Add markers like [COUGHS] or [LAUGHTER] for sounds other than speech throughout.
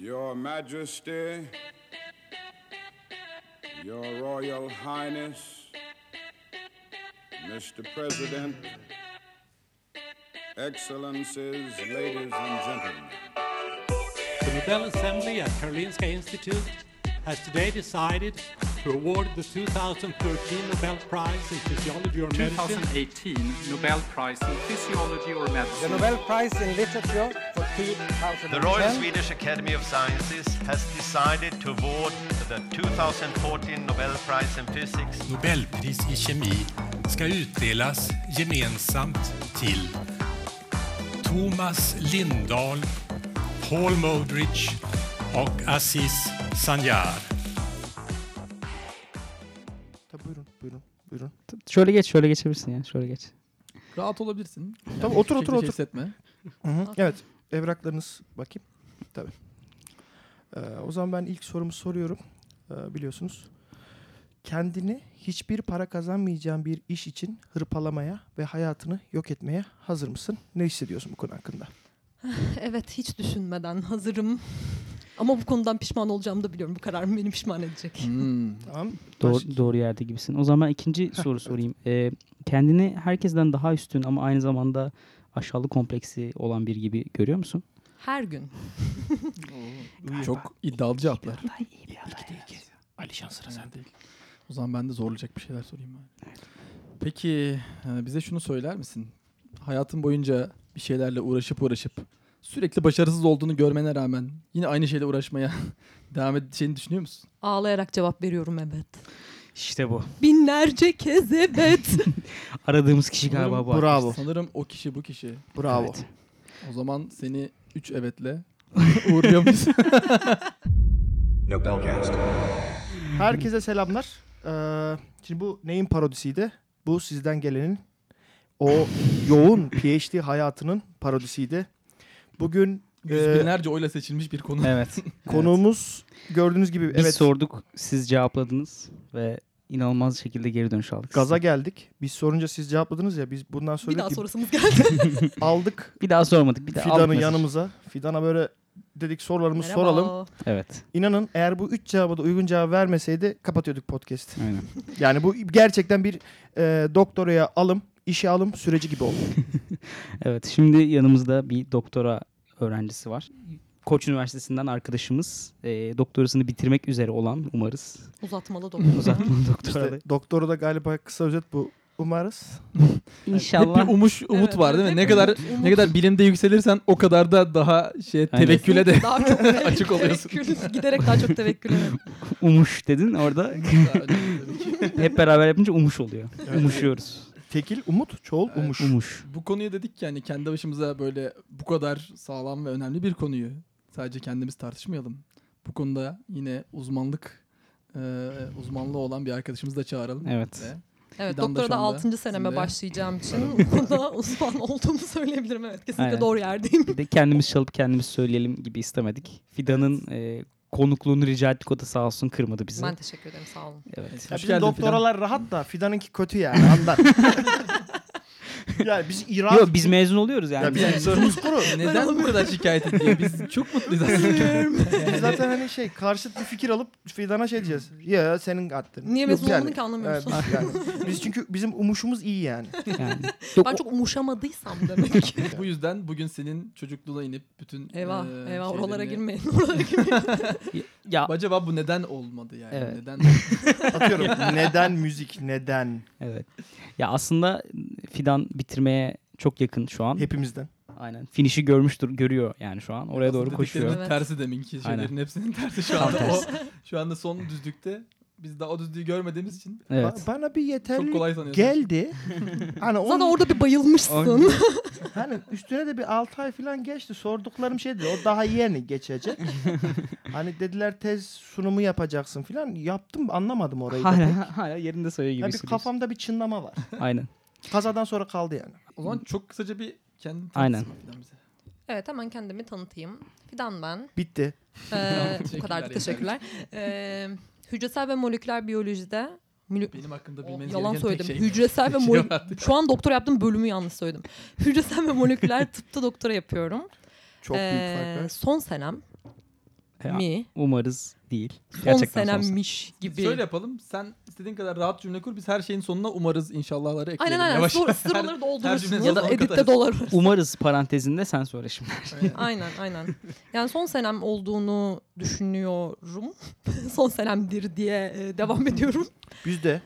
Your Majesty, Your Royal Highness, Mr. President, Excellencies, ladies and gentlemen. The Nobel Assembly at Karolinska Institute has today decided to award the 2013 Nobel Prize in Physiology or Medicine 2018 Nobel Prize in Physiology or The Medicine Nobel Prize in Literature for 2010 The Royal Swedish Academy of Sciences has decided to award the 2014 Nobel Prize in Physics Nobelpris i kemi ska utdelas gemensamt till Thomas Lindahl, Paul Modrich och Aziz Sanyar. Tabii buyurun, buyurun, buyurun. Şöyle geç, şöyle geçebilirsin ya. Şöyle geç. Rahat olabilirsin. Yani Tamam, otur, hiçbir otur, şey otur. hissetme. Hı, Evet, evraklarınız bakayım. Tabii. Ee, o zaman ben ilk sorumu soruyorum. Ee, biliyorsunuz. Kendini hiçbir para kazanmayacağın bir iş için hırpalamaya ve hayatını yok etmeye hazır mısın? Ne hissediyorsun bu konu hakkında? Evet hiç düşünmeden hazırım. Ama bu konudan pişman olacağımı da biliyorum. Bu kararım beni pişman edecek. Hmm. Tamam. Baş- Doğru, doğru yerde gibisin. O zaman ikinci soru sorayım. Ee, kendini herkesten daha üstün ama aynı zamanda aşağılık kompleksi olan bir gibi görüyor musun? Her gün. Çok iddialı cevaplar. iyi bir Alişan sıra sende. O zaman ben de zorlayacak bir şeyler sorayım. bari. Peki e, bize şunu söyler misin? Hayatın boyunca bir şeylerle uğraşıp uğraşıp sürekli başarısız olduğunu görmene rağmen yine aynı şeyle uğraşmaya [LAUGHS] devam edeceğini düşünüyor musun? Ağlayarak cevap veriyorum evet. İşte bu. Binlerce kez evet. Aradığımız kişi galiba bu. Bravo. arkadaş. Sanırım o kişi bu kişi. Bravo. Evet. O zaman seni 3 evetle [LAUGHS] uğurluyor [LAUGHS] muyuz? Herkese selamlar. Ee, şimdi bu neyin parodisiydi? Bu sizden gelenin o [LAUGHS] yoğun PhD hayatının parodisiydi. Bugün Yüz e, binlerce oyla seçilmiş bir konu. Evet. konuğumuz gördüğünüz gibi Biz evet sorduk, siz cevapladınız ve inanılmaz şekilde geri dönüş aldık. gaza geldik. Biz sorunca siz cevapladınız ya biz bundan sonra bir daha dedik ki sorusumuz geldi. [LAUGHS] aldık Bir daha sormadık. Bir daha aldık Fidan'ı mesaj. yanımıza. Fidan'a böyle dedik sorularımızı soralım. Evet. İnanın eğer bu üç cevaba da uygun cevap vermeseydi kapatıyorduk podcast'i. Aynen. Yani bu gerçekten bir e, doktoraya alım, işe alım süreci gibi oldu. Evet. Şimdi yanımızda bir doktora öğrencisi var. Koç Üniversitesi'nden arkadaşımız e, doktorasını bitirmek üzere olan umarız. Uzatmalı doktor. Uzatmalı doktora. da- İşte doktoru da galiba kısa özet bu. Umarız. İnşallah. Hep bir umuş, umut Evet, var değil mi? evet, Ne hep kadar umut, umut. ne kadar bilimde yükselirsen o kadar da daha şey Aynen. tevekküle [LAUGHS] de Daha çok Açık oluyorsun. tevekkül- Giderek daha çok tevekküle. [LAUGHS] Umuş dedin orada. Hep beraber yapınca umuş oluyor. Umuşuyoruz. Tekil umut, çoğul Evet. umuş. Umuş. Bu konuya dedik ki yani kendi başımıza böyle bu kadar sağlam ve önemli bir konuyu sadece kendimiz tartışmayalım. Bu konuda yine uzmanlık e, uzmanlığı olan bir arkadaşımızı da çağıralım. Evet. Ve Evet Fidan da doktora şu da anda 6. seneme içinde. başlayacağım için bu [LAUGHS] konuda uzman olduğumu söyleyebilirim. Evet kesinlikle Aynen. doğru yerdeyim. Bir de kendimiz çalıp kendimiz söyleyelim gibi istemedik. Fidan'ın e, konukluğunu rica ettik o da sağ olsun kırmadı bizi. Ben teşekkür ederim sağ olun. Evet. Ya Hoş bizim geldin doktoralar rahat da Fidan'ınki kötü yani anlar. yani biz İran... Yok biz mezun oluyoruz yani. ya bizim Yani- sorumuz kuru. neden bu kadar şikayet ediyor? Biz çok mutluyuz [LAUGHS] aslında. Biz zaten hani şey karşıt bir fikir alıp Fidan'a şey diyeceğiz. Ya senin attın. Niye mezun olduğunu ki anlamıyorsun. biz, yani, biz çünkü bizim umuşumuz iyi yani. [LAUGHS] Yani. Yok, Ben o- çok umuşamadıysam demek ki. bu yüzden bugün senin çocukluğuna inip bütün Eyvah e, eyvah oralara şeylerini- girmeyin. [LAUGHS] Oralara girmeyin. ya Acaba bu neden olmadı yani? Evet. [LAUGHS] Neden? Atıyorum neden müzik neden evet. Ya aslında Fidan bitirmeye çok yakın şu an. hepimizden. Aynen. Finişi görmüştür, görüyor yani şu an. Oraya doğru Aslında koşuyor. dediklerimin Evet. Tersi deminki şeylerin Aynen. hepsinin [LAUGHS] tersi şu Tam anda. o, tersi. [LAUGHS] şu anda son düzlükte. Biz daha o düzlüğü görmediğimiz için Evet. Ba- bana bir çok yeterli kolay sanıyoruz. geldi. hani Zaten onun, orada bir bayılmışsın. hani üstüne de bir 6 ay falan geçti. Sorduklarım şeydi o daha yeni [LAUGHS] geçecek. hani dediler tez sunumu yapacaksın falan. Yaptım anlamadım orayı. da. Ya Hala, hala yerinde söylüyor gibi bir hissediyorsun. kafamda bir çınlama var. Aynen. Kazadan sonra kaldı yani. O zaman çok kısaca bir kendini Aynen. tanıtsın falan bize. Evet hemen kendimi tanıtayım. Fidan ben. Bitti. Ee, bu Teşekkürler, kadar yeter. teşekkürler. Ee, hücresel ve moleküler biyolojide mülü- Benim hakkımda Oh, bilmeniz yalan gereken tek söyledim. şey. Hücresel ve Şey moleküler... vardı. Şu an doktora yaptığım bölümü yanlış söyledim. Hücresel ve moleküler tıpta doktora yapıyorum. Çok Ee, büyük fark var. Son senem. E, mi? Umarız değil. Son Gerçekten son sene. senemmiş [LAUGHS] gibi. Şöyle yapalım. Sen istediğin kadar rahat cümle kur. Biz her şeyin sonuna umarız inşallahları ekleyelim. Aynen aynen. Yavaş. [LAUGHS] Sor, Her- sıraları cümlenin doldurursun. Ya da sonuna editte kadar. doldurursun. Umarız parantezinde sen söyle şimdi. aynen aynen. Yani son senem olduğunu düşünüyorum. [LAUGHS] son senemdir diye e, devam ediyorum. Yüzde.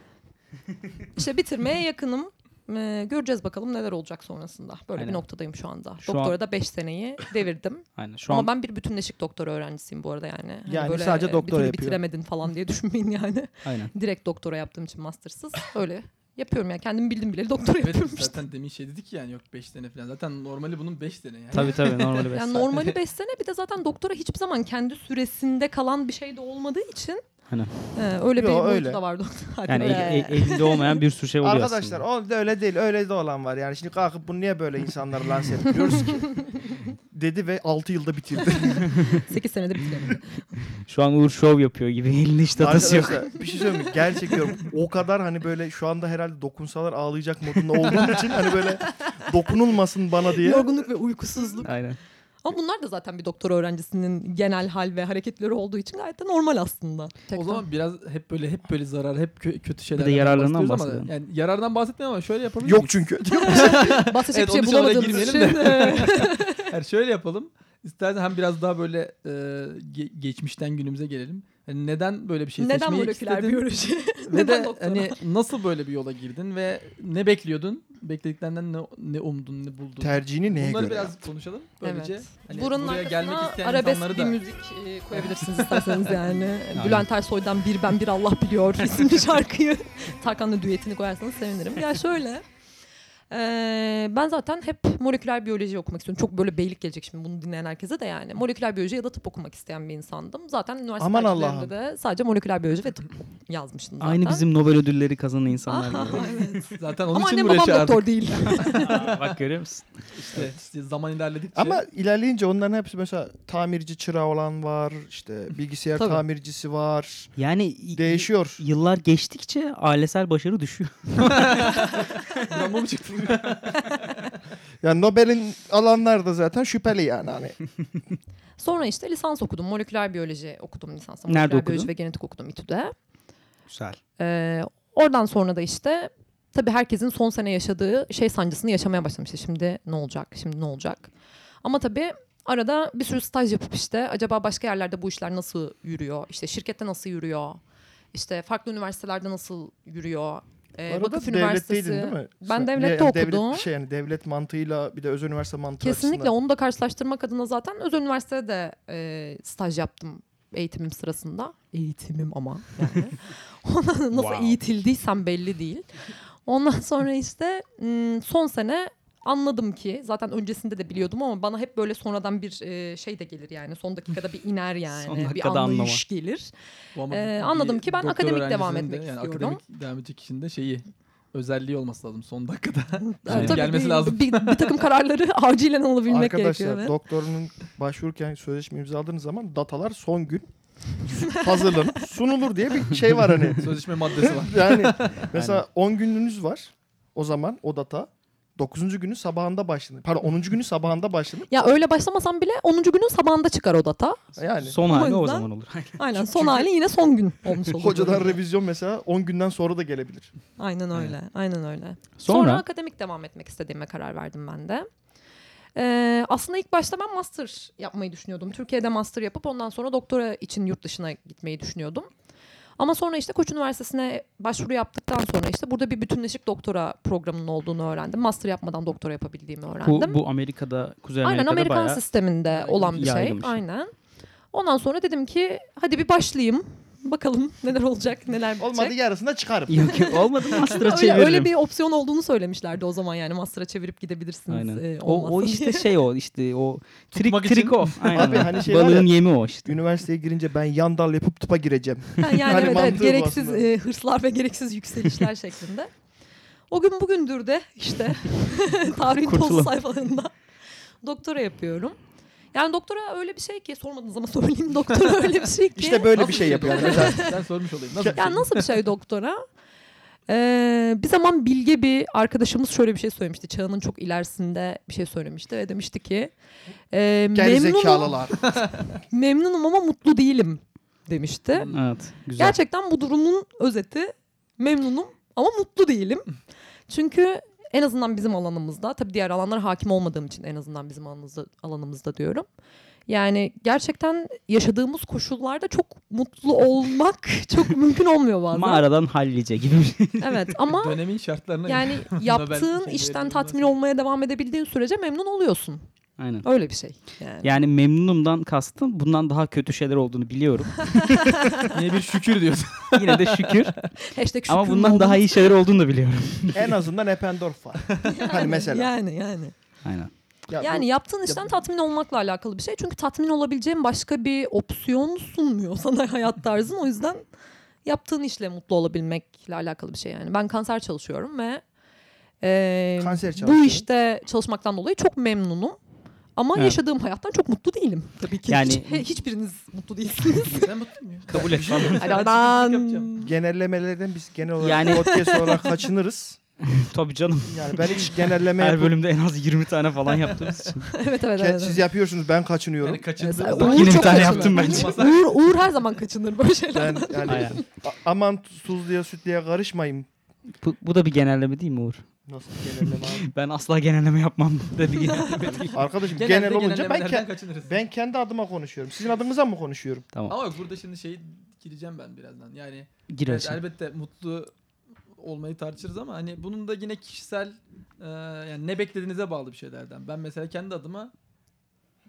İşte bitirmeye yakınım. Ee, göreceğiz bakalım neler olacak sonrasında. Böyle Aynen. bir noktadayım şu anda. Şu Doktora an- da 5 seneyi devirdim. Aynen şu Ama an ben bir bütünleşik doktora öğrencisiyim bu arada yani. Hani Yani sadece bir doktora türlü yapıyor. bitiremedin falan diye düşünmeyin yani. [LAUGHS] aynen. Direkt doktora yaptığım için mastersız öyle yapıyorum yani. Kendim bildim bile doktora Evet yapıyorum işte. zaten demin şey dedik yani yok 5 sene falan. Zaten normali bunun 5 sene yani. Tabii [LAUGHS] tabii normali Yani beş. [LAUGHS] normali 5 sene bir de zaten doktora hiçbir zaman kendi süresinde kalan bir şey de olmadığı için Aynen. e, öyle Yo, öyle. bir boyutu da var [LAUGHS] doktora. Yani e, el- el- elinde olmayan bir sürü şey oluyor Arkadaşlar aslında. o da öyle değil öyle de olan var yani şimdi kalkıp bunu niye böyle insanları [LAUGHS] lanse ettiriyoruz ki? Dedi ve 6 yılda bitirdi. e, [LAUGHS] 8 [LAUGHS] senede bitiremedim. Şu an Uğur şov yapıyor gibi elinde hiç datası yok. Arkadaşlar bir şey söyleyeyim mi? Gerçek diyorum. O kadar hani böyle şu anda herhalde dokunsalar ağlayacak modunda olduğum için hani böyle dokunulmasın bana diye. Yorgunluk ve uykusuzluk. Aynen. Ama bunlar da zaten bir doktor öğrencisinin genel hal ve hareketleri olduğu için gayet de normal aslında. O zaman biraz hep böyle hep böyle zarar, hep kö- kötü şeyler. yararlarından Ama yani yarardan bahsetmiyorum ama şöyle yapabiliriz. Yok çünkü. bahsedecek Evet, bir şey onun için oraya bulamadığımız için. girmeyelim e, [LAUGHS] Yani şöyle yapalım. İstersen hem biraz daha böyle e, ge- geçmişten günümüze gelelim. Hani neden böyle bir şey Neden seçmeyi moleküler istedin? biyoloji? Ve Neden de doktora? hani nasıl böyle bir yola girdin ve ne bekliyordun? Beklediklerinden ne, ne umdun, ne buldun? Tercihini neye Bunları göre? şey- biraz konuşalım. Böylece evet. hani Buranın buraya gelmek arkasına isteyen arabesk insanları bir da müzik e, [LAUGHS] koyabilirsiniz isterseniz yani. Bülent Ersoy'dan Bir Ben Bir Allah Biliyor isimli [LAUGHS] şarkıyı. [LAUGHS] Tarkan'la düetini koyarsanız sevinirim. Ya şöyle... e, ben zaten hep moleküler biyoloji okumak istiyorum. Çok böyle beylik gelecek şimdi bunu dinleyen herkese de yani. Moleküler biyoloji ya da tıp okumak isteyen bir insandım. Zaten üniversite Aman tercihlerimde de sadece moleküler biyoloji ve tıp yazmıştım zaten. Aynı bizim Nobel ödülleri kazanan insanlar [LAUGHS] Aha, gibi. evet. zaten onun Ama için annem buraya babam çağırdık. doktor değil. Aa, Bak görüyor musun? İşte, işte zaman ilerledikçe. Ama ilerleyince onların hepsi mesela tamirci çırağı olan var, işte bilgisayar Tabii. tamircisi var. Yani i- Değişiyor. i- yıllar geçtikçe ailesel başarı düşüyor. Ama bu çıktı. Yani Nobel'in alanlar da zaten şüpheli yani hani. Sonra işte lisans okudum. Moleküler biyoloji okudum lisansa. Nerede Moleküler okudun? biyoloji ve genetik okudum İTÜ'de. Güzel. Ee, oradan sonra da işte tabii herkesin son sene yaşadığı şey sancısını yaşamaya başladım. İşte şimdi ne olacak, şimdi ne olacak. Ama tabii arada bir sürü staj yapıp işte acaba başka yerlerde bu işler nasıl yürüyor? İşte şirkette nasıl yürüyor? İşte farklı üniversitelerde nasıl yürüyor? Ee, Bu arada Vakıf devletteydin Üniversitesi- değil mi? Ben devlette yani okudum. Devlet, şey yani devlet mantığıyla bir de özel üniversite mantığı Kesinlikle açısından. onu da karşılaştırmak adına zaten özel üniversitede de e, staj yaptım eğitimim sırasında. Eğitimim ama yani. [LAUGHS] Ona nasıl eğitildiysem belli değil. Ondan sonra işte m, son sene anladım ki zaten öncesinde de biliyordum ama bana hep böyle sonradan bir e, şey de gelir yani son dakikada bir iner Son yani bir dakikada anlayış gelir. Bu ama Ee, bir anladım ki ben doktor akademik devam öğrencisinin de etmek yani istiyorum. Akademik devam edecek kişinin de şeyi özelliği olması lazım son dakikada. [LAUGHS] Yani Tabii gelmesi bir, lazım. Bir, bir takım kararları [LAUGHS] acilen alabilmek Arkadaşlar gerekiyor. evet. doktorunun başvururken sözleşme imzaladığınız zaman datalar son gün hazırlanıp sunulur diye bir şey var hani. Sözleşme maddesi var. yani mesela 10 gününüz var o zaman o data. 9. günü sabahında başlanır. Pardon 10. günü sabahında başlanır. Ya öyle başlamasam bile 10. günün sabahında çıkar o data. Yani Son hali o yüzden- zaman olur. Aynen son hali yine son gün olmuş olur. hocadan revizyon mesela 10 günden sonra da gelebilir. Aynen öyle. Aynen öyle. Sonra? Sonra akademik devam etmek istediğime karar verdim ben de. Ee, aslında ilk başta ben master yapmayı düşünüyordum. Türkiye'de master yapıp ondan sonra doktora için yurt dışına gitmeyi düşünüyordum. Ama sonra işte Koç Üniversitesi'ne başvuru yaptıktan sonra işte burada bir bütünleşik doktora programının olduğunu öğrendim. Master yapmadan doktora yapabildiğimi öğrendim. bu, bu Amerika'da, Kuzey Aynen Amerika'da Amerikan bayağı sisteminde olan bir şey. yaygın bir şey. Aynen. Ondan sonra dedim ki hadi bir başlayayım. Bakalım [LAUGHS] neler olacak, neler bitecek. Olmadı yarısında çıkarım. [LAUGHS] Yok yok olmadı master'a öyle, çeviririm. öyle bir opsiyon olduğunu söylemişlerdi o zaman yani master'a çevirip gidebilirsiniz. Aynen. e, o, o olmazsa işte diye. şey o işte o Tutmak trik için. trik off. Aynen. Abi hani şey var Balığın ya- yemi o işte. Üniversiteye girince ben yandal yapıp tıpa gireceğim. Ha, [LAUGHS] yani Hani evet, mantığı evet, bu gereksiz aslında. e, hırslar ve gereksiz yükselişler [LAUGHS] şeklinde. O gün bugündür de işte [LAUGHS] tarihin Kurtulalım. toz sayfalarında doktora yapıyorum. Yani doktora öyle bir şey ki sormadınız ama [LAUGHS] söyleyeyim doktora öyle bir şey ki. İşte böyle Nasıl [LAUGHS] bir şey yapıyor. Ben sormuş olayım. Nasıl bir Ya şey? nasıl bir şey doktora? Ee, bir zaman bilge bir arkadaşımız şöyle bir şey söylemişti. Çağının çok ilerisinde bir şey söylemişti ve demişti ki e, Geri memnunum, [LAUGHS] zekalılar. memnunum ama mutlu değilim demişti. Evet. Güzel. Gerçekten bu durumun özeti memnunum ama mutlu değilim. Çünkü en azından bizim alanımızda tabii diğer alanlara hakim olmadığım için en azından bizim alanımızda, alanımızda diyorum. Yani gerçekten yaşadığımız koşullarda çok mutlu olmak [LAUGHS] çok mümkün olmuyor bazen. Mağaradan hallice gibi bir şey. Evet [LAUGHS] ama Dönemin şartlarına göre. yani Nobel yaptığın şeyleri işten bilmez tatmin mi? olmaya devam edebildiğin sürece memnun oluyorsun. Aynen. Öyle bir şey. Yani. Yani memnunumdan kastım bundan daha kötü şeyler olduğunu biliyorum. Yine bir şükür diyorsun. Yine de şükür. Hashtag Ama şükrün bundan oldu. daha iyi şeyler olduğunu da biliyorum. en azından Eppendorf var. hani mesela. Yani yani. Aynen. Ya bu- Yani yaptığın işten tatmin olmakla alakalı bir şey. Çünkü tatmin olabileceğin başka bir opsiyon sunmuyor sana [LAUGHS] hayat tarzın. O yüzden yaptığın işle mutlu olabilmekle alakalı bir şey yani. Ben kanser çalışıyorum ve e, Kanser çalışıyorum. bu işte çalışmaktan dolayı çok memnunum. Ama Evet. yaşadığım hayattan çok mutlu değilim. Tabii ki Yani- hiç- he- hiçbiriniz mutlu değilsiniz. Ben şey mutluyum ya. [LAUGHS] Kabul et. Hani ondan- şey yapacağım. genellemelerden biz genel olarak Yani- podcast olarak kaçınırız. Tabii canım. Yani ben hiç genelleme Her yapıyorum. bölümde en az 20 tane falan yaptığımız için. evet evet. evet. Siz yapıyorsunuz ben kaçınıyorum. Yani kaçındığım Evet, zaman- Uğur Yine bir çok tane kaçınır. yaptım bence. Uğur, Uğur her zaman kaçınır böyle şeylerden. [LAUGHS] Ben yani Aynen. a- aman tuzluya sütlüye karışmayayım. Bu, bu da bir genelleme değil mi Uğur? Nasıl bir [LAUGHS] genelleme abi? Ben asla genelleme yapmam da bir genelleme değil. Arkadaşım Genelde genel olunca ben, genellemelerden ke- kaçınırız. ben kendi adıma konuşuyorum. Sizin adınıza mı konuşuyorum? Tamam. Ama burada şimdi şey gireceğim ben birazdan. Yani Gir evet, açın. elbette mutlu olmayı tartışırız ama hani bunun da yine kişisel e, yani ne beklediğinize bağlı bir şeylerden. Ben mesela kendi adıma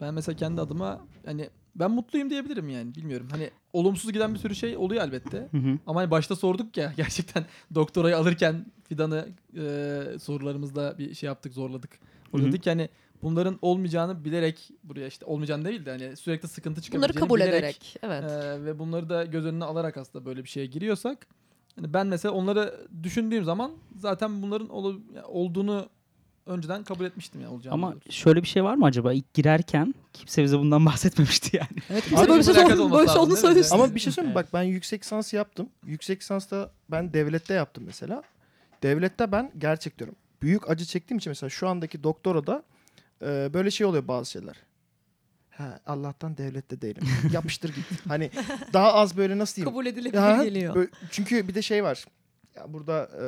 ben mesela kendi adıma hani ben mutluyum diyebilirim yani bilmiyorum. Hani olumsuz giden bir sürü şey oluyor elbette. Hı hı. Ama hani başta sorduk ya [LAUGHS] gerçekten doktorayı alırken Fidan'ı e, sorularımızda bir şey yaptık zorladık. Orada Hı hı. dedik ki hani bunların olmayacağını bilerek buraya işte olmayacağını değil de hani sürekli sıkıntı çıkabileceğini Bunları şey kabul bilerek, ederek. Evet. e, ve bunları da göz önüne alarak aslında böyle bir şeye giriyorsak hani ben mesela onları düşündüğüm zaman zaten bunların olu- yani olduğunu önceden kabul etmiştim yani olacağını. Ama diyoruz. şöyle bir şey var mı acaba? İlk girerken kimse bize bundan [LAUGHS] bahsetmemişti yani. Evet Abi kimse böyle bir şey mülakat sormuyor. olması Böyle şey lazım olduğunu değil mi? söylüyorsun. Ama bir şey söyleyeyim mi? Evet. Bak ben yüksek lisans yaptım. Yüksek lisansta ben devlette yaptım mesela. Devlette ben gerçek diyorum. Büyük acı çektiğim için mesela şu andaki doktorada e, böyle şey oluyor bazı şeyler. Ha, Allah'tan devlette [LAUGHS] değilim. Yapıştır git. Hani daha az böyle nasıl diyeyim? Kabul Ya, edilebilir geliyor. bö- çünkü bir de şey var. Ya burada e,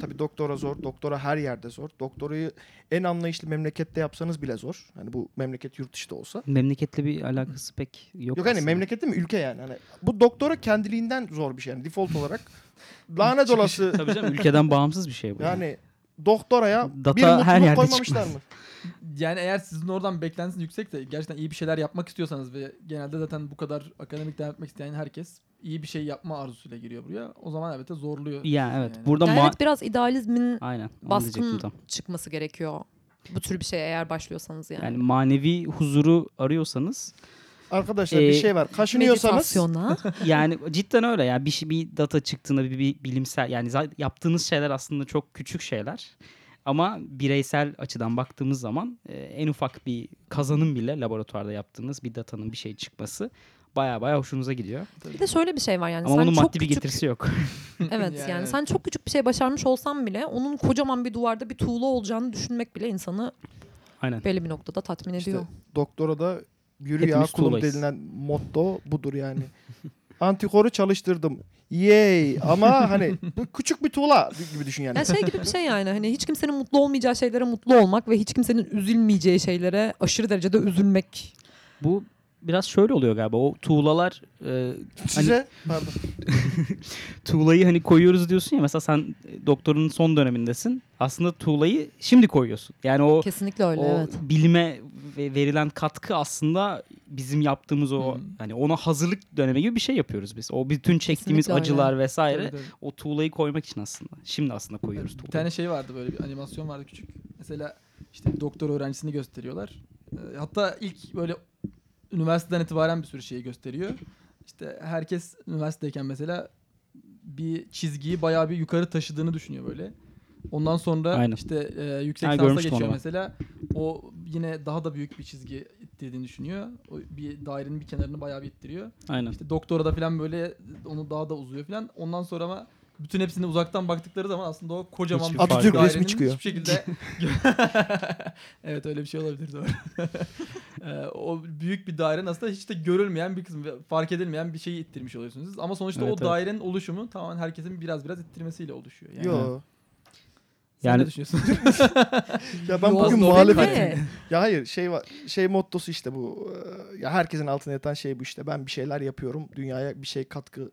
tabii doktora zor, doktora her yerde zor. Doktorayı en anlayışlı memlekette yapsanız bile zor. Hani bu memleket yurt dışı da olsa. Memleketle bir alakası pek yok. Yok hani aslında. memleket değil mi? Ülke yani. Hani bu doktora kendiliğinden zor bir şey. Yani default olarak [LAUGHS] lanet olası şey- Tabii canım ülkeden bağımsız bir şey bu. yani doktoraya Data bir her mutluluk yerde koymamışlar çıkmaz. mı? Yani eğer sizin oradan beklentiniz yüksekse gerçekten iyi bir şeyler yapmak istiyorsanız ve genelde zaten bu kadar akademik devam etmek isteyen herkes iyi bir şey yapma arzusuyla giriyor buraya. O zaman elbette zorluyor. Ya evet. Yani. Burada Yani ma- evet biraz idealizmin Aynen. onu diyecektim baskın tam. çıkması gerekiyor. Bu tür bir şeye eğer başlıyorsanız yani. Yani manevi huzuru [LAUGHS] arıyorsanız Arkadaşlar Ee, bir şey var. Kaşınıyorsanız Meditasyona. yani cidden öyle ya bir şey- bir data çıktığında bir, bir bilimsel yani za- yaptığınız şeyler aslında çok küçük şeyler. Ama bireysel açıdan baktığımız zaman e, en ufak bir kazanım bile laboratuvarda yaptığınız bir datanın bir şey çıkması baya baya hoşunuza gidiyor. bir de şöyle bir şey var yani. Ama sen bunun çok maddi bir küçük, getirisi yok. [LAUGHS] Evet Yani yani, evet. sen çok küçük bir şey başarmış olsan bile onun kocaman bir duvarda bir tuğla olacağını düşünmek bile insanı Aynen. belli bir noktada tatmin işte ediyor. doktorada yürü ya Hepimiz kulum tuğlayız. denilen motto budur yani. [LAUGHS] Antikoru çalıştırdım. Yey ama hani bu küçük bir tuğla gibi düşün yani. Yani şey gibi bir şey yani hani hiç kimsenin mutlu olmayacağı şeylere mutlu olmak ve hiç kimsenin üzülmeyeceği şeylere aşırı derecede üzülmek. Bu biraz şöyle oluyor galiba. O tuğlalar e, Size pardon. tuğlayı hani koyuyoruz diyorsun ya mesela sen e, doktorun son dönemindesin. Aslında tuğlayı şimdi koyuyorsun. Yani o Kesinlikle öyle o evet. bilime ve- verilen katkı aslında bizim yaptığımız o Hı. hani ona hazırlık dönemi gibi bir şey yapıyoruz biz. O bütün çektiğimiz Kesinlikle öyle. acılar vesaire Tabii, tabii. o tuğlayı koymak için aslında. Şimdi aslında koyuyoruz Bir tuğlayı. tane şey vardı böyle bir animasyon vardı küçük. Mesela işte bir doktor öğrencisini gösteriyorlar. Ee, Hatta ilk böyle üniversiteden itibaren bir sürü şeyi gösteriyor. İşte herkes üniversitedeyken mesela bir çizgiyi bayağı bir yukarı taşıdığını düşünüyor böyle. Ondan sonra Aynen. işte e, yüksek Ha, lisansa görmüştüm onu geçiyor ben. mesela. O yine daha da büyük bir çizgi ittirdiğini düşünüyor. O bir dairenin bir kenarını bayağı bir ittiriyor. Aynen. İşte doktora da falan böyle onu daha da uzuyor falan. Ondan sonra ama bütün hepsine uzaktan baktıkları zaman aslında o kocaman Hiçbir bir farkı Atatürk dairenin resmi çıkıyor. Hiçbir şekilde [LAUGHS] Evet öyle bir şey olabilir doğru. [LAUGHS] Ee, o büyük bir dairenin aslında hiç de görülmeyen bir kısmı ve fark edilmeyen bir şeyi ittirmiş oluyorsunuz. siz. Ama sonuçta Evet, o evet. dairenin oluşumu tamamen herkesin biraz biraz ittirmesiyle oluşuyor. Yani Yo. sen Yani- ne düşünüyorsun? Ya ben Yo, bugün doğru. muhalefet. Ya hayır şey var. Şey mottosu işte bu. Ee, Ya herkesin altında yatan şey bu işte. Ben bir şeyler yapıyorum. Dünyaya bir şey katkı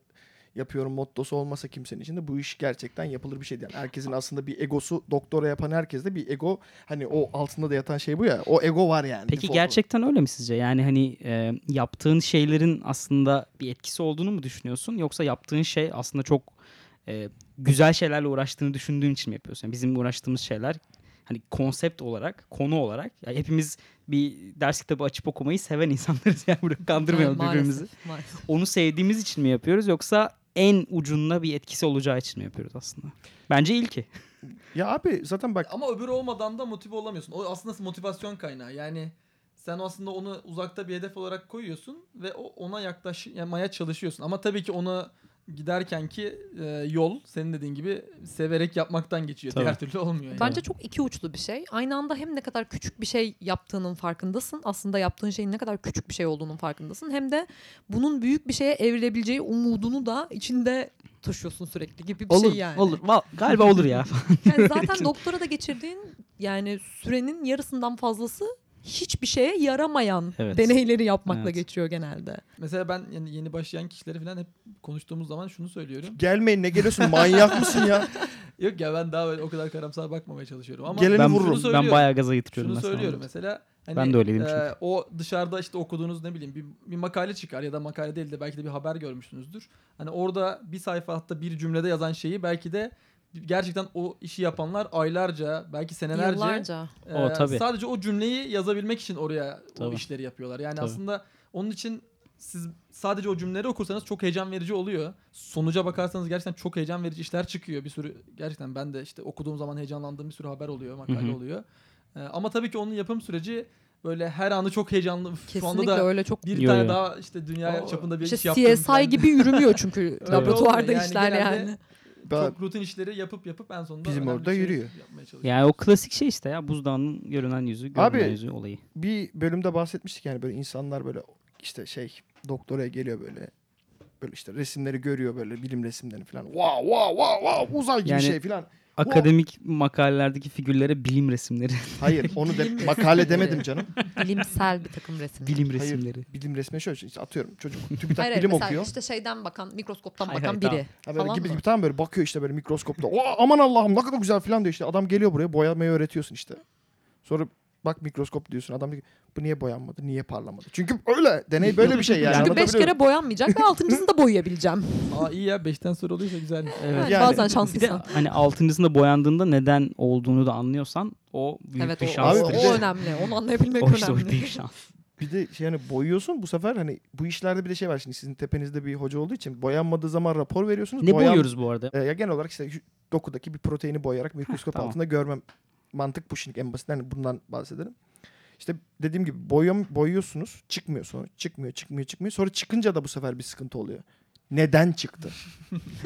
yapıyorum mottosu olmasa kimsenin içinde bu iş gerçekten yapılır bir şey değil. Yani herkesin aslında bir egosu doktora yapan herkeste bir ego hani o altında da yatan şey bu ya. O ego var yani. Peki default gerçekten öyle mi sizce? Yani hani e, yaptığın şeylerin aslında bir etkisi olduğunu mu düşünüyorsun? Yoksa yaptığın şey aslında çok e, güzel şeylerle uğraştığını düşündüğün için mi yapıyorsun? Yani bizim uğraştığımız şeyler hani konsept olarak, konu olarak ya hepimiz bir ders kitabı açıp okumayı seven insanlarız. Yani burada kandırmayalım Yani birbirimizi. maalesef, maalesef. Onu sevdiğimiz için mi yapıyoruz yoksa en ucunda bir etkisi olacağı için mi yapıyoruz aslında? Bence ilki. olarak. Ya abi zaten bak Ama öbürü olmadan da motive olamıyorsun. O aslında motivasyon kaynağı. Yani sen aslında onu uzakta bir hedef olarak koyuyorsun ve o ona yaklaşmaya çalışıyorsun. Ama tabii ki ona giderken ki e, yol senin dediğin gibi severek yapmaktan geçiyor. Tabii. Diğer türlü olmuyor. Yani. Bence çok iki uçlu bir şey. Aynı anda hem ne kadar küçük bir şey yaptığının farkındasın. Aslında yaptığın şeyin ne kadar küçük bir şey olduğunun farkındasın. Hem de bunun büyük bir şeye evrilebileceği umudunu da içinde taşıyorsun sürekli gibi bir olur, şey yani. olur. Va- Galiba olur ya. [LAUGHS] Yani zaten doktora da geçirdiğin yani sürenin yarısından fazlası hiçbir şeye yaramayan Evet. deneyleri yapmakla Evet. geçiyor genelde. Mesela ben yani yeni başlayan kişilere falan hep konuştuğumuz zaman şunu söylüyorum. gelmeyin ne geliyorsun manyak mısın [LAUGHS] ya? Yok ya ben daha böyle o kadar karamsar bakmamaya çalışıyorum ama Geleni ben, vururum. şunu söylüyorum. ben bayağı gaza getiriyorum. Şunu mesela. söylüyorum mesela. Hani, Ben de öyleydim çünkü. o dışarıda işte okuduğunuz ne bileyim bir, bir makale çıkar ya da makale değil de belki de bir haber görmüşsünüzdür. Hani orada bir sayfa hatta bir cümlede yazan şeyi belki de gerçekten o işi yapanlar aylarca belki senelerce Yıllarca. e, O, tabii. sadece o cümleyi yazabilmek için oraya o Tabii. işleri yapıyorlar. Yani Tabii. aslında onun için siz sadece o cümleleri okursanız çok heyecan verici oluyor. Sonuca bakarsanız gerçekten çok heyecan verici işler çıkıyor. Bir sürü gerçekten ben de işte okuduğum zaman heyecanlandığım bir sürü haber oluyor, makale Hı hı. oluyor. Ee, ama tabii ki onun yapım süreci böyle her anı çok heyecanlı. Şu Kesinlikle anda da öyle şey çok bir Yo, tane yo. daha işte dünya O- çapında bir işte iş yaptım. [LAUGHS] CSI gibi yürümüyor çünkü laboratuvarda olmuyor yani işler genelde- yani. Ben- Çok rutin işleri yapıp yapıp en sonunda Bizim önemli orada bir şey yürüyor. yapmaya çalışıyor. Yani o klasik şey işte ya buzdağının görünen yüzü, görünen Abi- yüzü olayı. bir bölümde bahsetmiştik yani böyle insanlar böyle işte şey doktoraya geliyor böyle böyle işte resimleri görüyor böyle bilim resimlerini falan. Wow wow wow wow uzay gibi Yani- şey falan. Akademik makalelerdeki figürlere bilim resimleri, [LAUGHS] Hayır [LAUGHS] onu Bilim de, makale resimleri. demedim canım. Bilimsel bir takım resimler. bilim Hayır. resimleri. Bilim resmi şöyle işte atıyorum çocuk TÜBİTAK Hayır, hayır, bilim mesela okuyor. işte şeyden bakan, mikroskoptan Hayır, bakan hayır, biri. tamam. ha böyle falan gibi mı? gibi tam böyle bakıyor işte böyle mikroskopta. "Oo, aman Allah'ım ne kadar güzel falan diyor işte. Adam geliyor buraya boyamayı öğretiyorsun işte. Sonra bak mikroskop diyorsun. Adam diyor ki bu niye boyanmadı? Niye parlamadı? Çünkü öyle deney böyle bir şey yani. Çünkü beş Anlatabiliyor muyum? kere boyanmayacak ve altıncısını [LAUGHS] da boyayabileceğim. Aa iyi ya 5'ten sonra oluyorsa güzel. Yani Yani- bazen Bir de şanslıysan. hani altıncısında boyandığında neden olduğunu da anlıyorsan o büyük Evet bir o, şans. Abi o, bir de- o önemli. Onu [LAUGHS] anlayabilmek O işte o önemli. büyük şans. [LAUGHS] Bir de şey hani boyuyorsun bu sefer hani bu işlerde bir de şey var şimdi sizin tepenizde bir hoca olduğu için boyanmadığı zaman rapor veriyorsunuz. Ne Boyan- boyuyoruz bu arada? E, ya genel olarak işte şu dokudaki bir proteini boyayarak mikroskop tamam. altında görmem mantık bu şimdi en basitinden hani bundan bahsedelim. İşte dediğim gibi boyuyor, boyuyorsunuz çıkmıyor sonra çıkmıyor çıkmıyor çıkmıyor sonra çıkınca da bu sefer bir sıkıntı oluyor. Neden [LAUGHS] çıktı?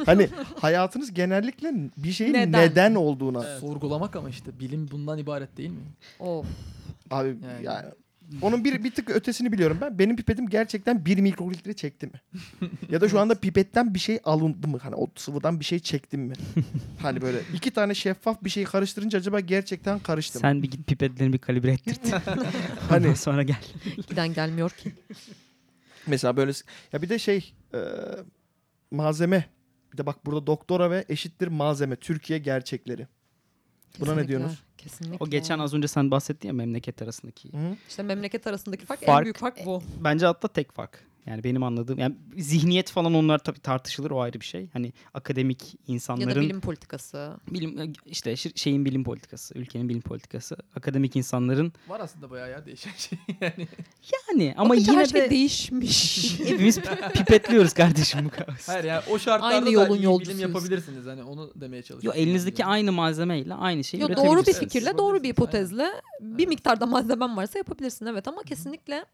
hani hayatınız genellikle bir şeyin neden, Neden? olduğuna Sorgulamak ama işte bilim bundan ibaret değil mi? Of. abi Yani. yani. Onun bir, bir tık ötesini biliyorum ben. Benim pipetim gerçekten 1 mikrolitre çekti mi? ya da şu anda pipetten bir şey alındı mı? Hani o sıvıdan bir şey çektim mi? hani böyle iki tane şeffaf bir şey karıştırınca acaba gerçekten karıştı mı? Sen bir git pipetlerini bir kalibre [LAUGHS] ettirt. Ondan Hani- sonra gel. Giden gelmiyor ki. Mesela böyle s- ya bir de şey e, malzeme bir de bak burada doktora ve eşittir malzeme Türkiye gerçekleri. [LAUGHS] Buna ne Kesinlikle, diyorsunuz? Kesinlikle. O geçen az önce sen bahsettin ya memleket arasındaki. Hı? İşte memleket arasındaki fark, en Fark- büyük fark bu. Bence hatta tek fark. Yani benim anladığım yani zihniyet falan onlar tabii tartışılır o ayrı bir şey. Hani akademik Ya da insanların bilim politikası. bilim e, işte şir- şeyin bilim politikası, ülkenin bilim politikası, akademik insanların Var aslında bayağı ya değişen şey [LAUGHS] yani. yani ama Bakınca her yine şey de [LAUGHS] değişmiş. hepimiz pi- pipetliyoruz kardeşim bu kadar. [LAUGHS] Hayır yani o şartlarda Aynı da yolun iyi bilim yolcusunuz. yapabilirsiniz. Hani onu demeye Yo çalışıyorum. elinizdeki Yani. aynı malzemeyle aynı şeyi Yo, doğru bir üretebilirsiniz. Evet, fikirle, siz doğru bir yapabilirsiniz, hipotezle bir miktarda malzemen varsa yapabilirsin evet ama kesinlikle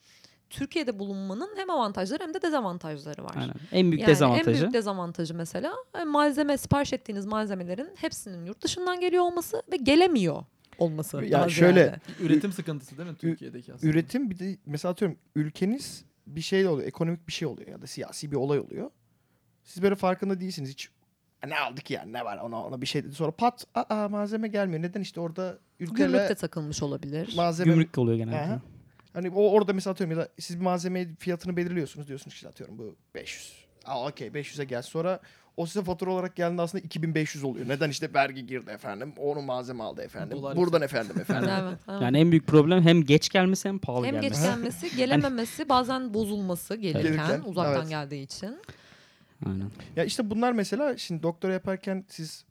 Türkiye'de bulunmanın hem avantajları hem de dezavantajları var. Aynen. En büyük Yani En dezavantajı. büyük dezavantajı mesela e, malzeme sipariş ettiğiniz malzemelerin hepsinin yurt dışından geliyor olması ve gelemiyor olması. Ya daha şöyle, ziyade. Üretim sıkıntısı değil mi Türkiye'deki aslında? Üretim bir de mesela atıyorum ülkeniz bir şey oluyor, ekonomik bir şey oluyor ya da siyasi bir olay oluyor. Siz böyle farkında değilsiniz hiç. "E, Ne aldık yani ne var ona ona bir şey dedi. Sonra pat aa malzeme gelmiyor. Neden işte orada gümrükte ülkeyle takılmış olabilir. malzeme Gümrük oluyor genelde. Aha. Hani o orada mesela atıyorum ya da siz bir malzeme fiyatını belirliyorsunuz diyorsunuz ki işte atıyorum bu 500. Aa okey 500'e gel. Sonra o size fatura olarak geldiğinde aslında 2500 oluyor. Neden işte vergi girdi efendim. Onu malzeme aldı efendim. Dolar Buradan efendim [LAUGHS] efendim. Evet, evet. Yani en büyük problem hem geç gelmesi hem pahalı hem gelmesi. geç gelmesi, gelememesi, bazen bozulması gelirken, Gelirken, uzaktan evet. geldiği için. Aynen. Ya işte bunlar mesela şimdi doktora yaparken siz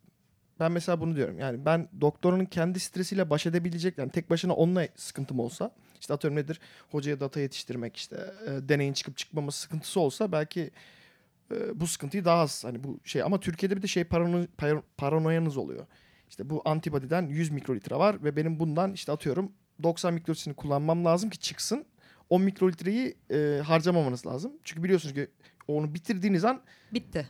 ben mesela bunu diyorum. Yani ben doktorunun kendi stresiyle baş edebilecek yani tek başına onunla sıkıntım olsa işte atıyorum nedir? Hocaya data yetiştirmek işte e, deneyin çıkıp çıkmaması sıkıntısı olsa belki e, bu sıkıntıyı daha az hani bu şey ama Türkiye'de bir de şey parano, par- paranoyanız oluyor. İşte bu antibodiden 100 mikrolitre var ve benim bundan işte atıyorum 90 mikrolitresini kullanmam lazım ki çıksın. 10 mikrolitreyi e, harcamamanız lazım. Çünkü biliyorsunuz ki onu bitirdiğiniz an Bitti.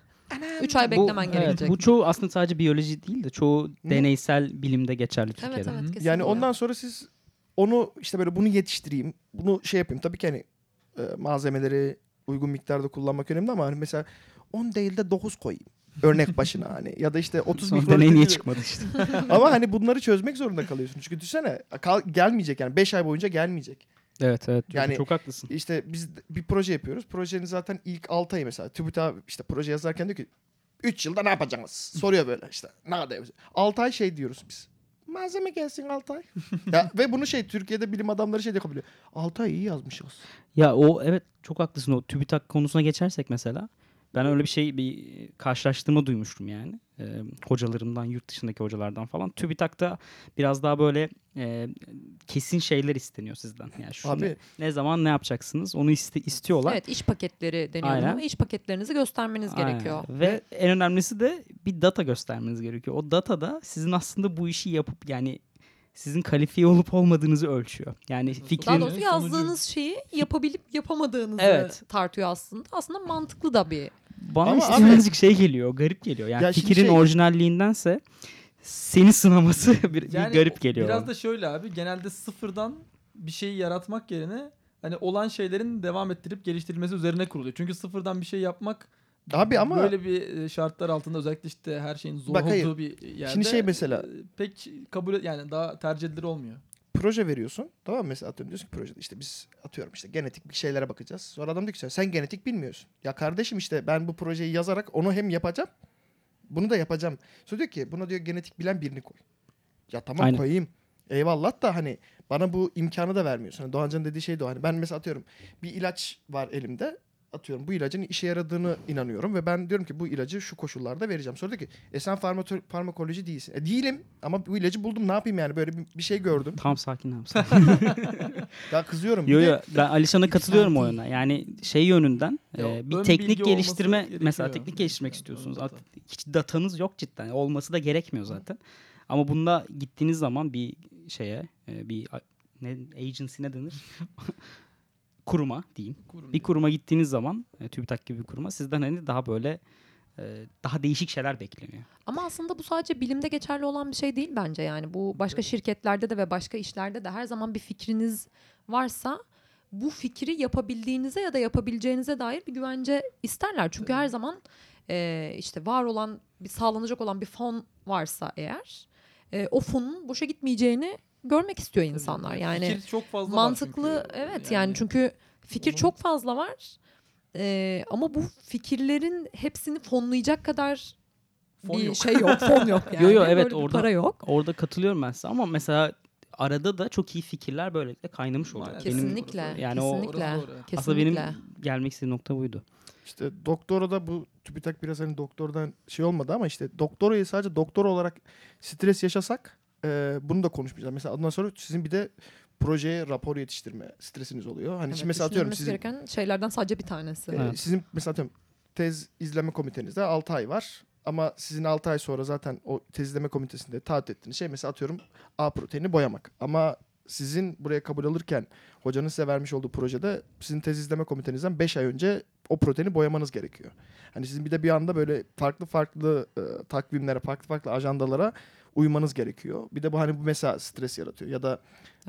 3 ay beklemen bu, gerekecek. evet, bu çoğu aslında sadece biyoloji değil de çoğu deneysel bilimde geçerli Türkiye'de. evet, evet, kesinlikle. Yani ondan sonra siz onu işte böyle bunu yetiştireyim, bunu şey yapayım. Tabii ki hani e, malzemeleri uygun miktarda kullanmak önemli ama hani mesela 10 değil de 9 koyayım. [LAUGHS] Örnek başına hani ya da işte 30 Sonra deney niye mikrolitre çıkmadı işte. ama hani bunları çözmek zorunda kalıyorsun. Çünkü düşünsene kal- gelmeyecek yani 5 ay boyunca gelmeyecek. evet evet. Çok, Yani- çok haklısın. İşte biz de- bir proje yapıyoruz. Projenin zaten ilk 6 ayı mesela TÜBİTAK işte proje yazarken diyor ki 3 yılda ne yapacaksınız? Soruyor böyle işte. Ne yapacağız? 6 ay şey diyoruz biz. Malzeme gelsin 6 ay. [LAUGHS] ya, ve bunu şey Türkiye'de bilim adamları şey de yapabiliyor. 6 ay iyi yazmışız. Ya o evet çok haklısın o TÜBİTAK konusuna geçersek mesela. Ben öyle bir şey bir karşılaştırma duymuştum yani. Ee, hocalarımdan, yurt dışındaki hocalardan falan. TÜBİTAK'ta biraz daha böyle e, kesin şeyler isteniyor sizden. Yani şunu, Abi. ne zaman ne yapacaksınız onu iste, istiyorlar. Evet iş paketleri deniyor Aynen. buna. İş paketlerinizi göstermeniz Aynen. gerekiyor. Ve en önemlisi de bir data göstermeniz gerekiyor. O data da sizin aslında bu işi yapıp yani sizin kalifiye olup olmadığınızı ölçüyor. Yani Daha fikrin doğrusu yazdığınız şeyi yapabilip yapamadığınızı Evet. tartıyor aslında. Aslında mantıklı da bir. bana Ama işte abi- birazcık şey geliyor, garip geliyor. Yani Ya şimdi fikrin şey- orijinalliğindense seni sınaması [LAUGHS] bir, bir Yani garip geliyor. Biraz bana. da şöyle abi genelde sıfırdan bir şeyi yaratmak yerine hani olan şeylerin devam ettirip geliştirilmesi üzerine kuruluyor. Çünkü sıfırdan bir şey yapmak Abi ama böyle bir e, şartlar altında özellikle işte her şeyin zor Bak olduğu hayır. bir yerde Şimdi şey mesela- e, pek kabul et, yani daha tercih edilir olmuyor. proje veriyorsun. Tamam mı? Mesela atıyorum diyorsun ki projede işte biz atıyorum işte genetik bir şeylere bakacağız. Sonra adam diyor ki sen genetik bilmiyorsun. Ya kardeşim işte ben bu projeyi yazarak onu hem yapacağım bunu da yapacağım. Sonra diyor ki buna diyor genetik bilen birini koy. Ya tamam Aynen. koyayım. Eyvallah da hani bana bu imkanı da vermiyorsun. Hani Doğancan'ın dediği şey de o. Hani ben mesela atıyorum bir ilaç var elimde. Atıyorum bu ilacın işe yaradığını inanıyorum ve ben diyorum ki bu ilacı şu koşullarda vereceğim. Sonra diyor ki e sen farmato- farmakoloji değilsin. E değilim ama bu ilacı buldum ne yapayım yani böyle bir, bir şey gördüm. Tam sakin abi. sakin. Ya kızıyorum. Bir yo de- yo ben Alişan'a katılıyorum o değil. yöne. Yani şey yönünden Ya e, bir ön teknik bilgi olması geliştirme gerekiyor. mesela teknik geliştirmek Yani istiyorsunuz. ön data. At- Hiç datanız yok cidden. Olması da gerekmiyor zaten. Ama bunda gittiğiniz zaman bir şeye e, bir a- ne agency ne denir? [LAUGHS] kuruma diyeyim. Kurum Bir kuruma gittiğiniz zaman e, TÜBİTAK gibi bir kuruma sizden hani daha böyle e, daha değişik şeyler bekleniyor. Ama aslında bu sadece bilimde geçerli olan bir şey değil bence. Yani bu başka şirketlerde de ve başka işlerde de her zaman bir fikriniz varsa bu fikri yapabildiğinize ya da yapabileceğinize dair bir güvence isterler. Çünkü her zaman e, işte var olan bir sağlanacak olan bir fon varsa eğer e, o fonun boşa gitmeyeceğini görmek istiyor Tabii. insanlar. Yani fikir çok fazla var mantıklı çünkü. evet yani çünkü fikir onun- çok fazla var. E, ama bu fikirlerin hepsini fonlayacak kadar fon bir yok. şey yok, fon yok yani. Yo, yo, evet, Böyle bir orada- para yok. Orada katılıyorum ben size ama mesela arada da çok iyi fikirler böylelikle kaynamış oluyor. Maalesef. Benim- Kesinlikle. yani o- kesinlikle. Orası doğru. kesinlikle. Aslında benim gelmek istediğim nokta buydu. İşte doktora da bu TÜBİTAK biraz hani doktordan şey olmadı ama işte doktorayı sadece doktor olarak stres yaşasak e, bunu da konuşmayacağız. Mesela ondan sonra sizin bir de projeye rapor yetiştirme stresiniz oluyor. Hani Evet, şimdi mesela atıyorum düşünülmesi sizin, gereken şeylerden sadece bir tanesi. e, Evet. sizin mesela atıyorum tez izleme komitenizde 6 ay var. Ama sizin 6 ay sonra zaten o tez izleme komitesinde taahhüt ettiğiniz şey mesela atıyorum A proteini boyamak. Ama sizin buraya kabul alırken hocanın size vermiş olduğu projede sizin tez izleme komitenizden 5 ay önce o proteni boyamanız gerekiyor. Hani sizin bir de bir anda böyle farklı farklı e, takvimlere, farklı farklı ajandalara uymanız gerekiyor. Bir de bu hani bu mesela stres yaratıyor ya da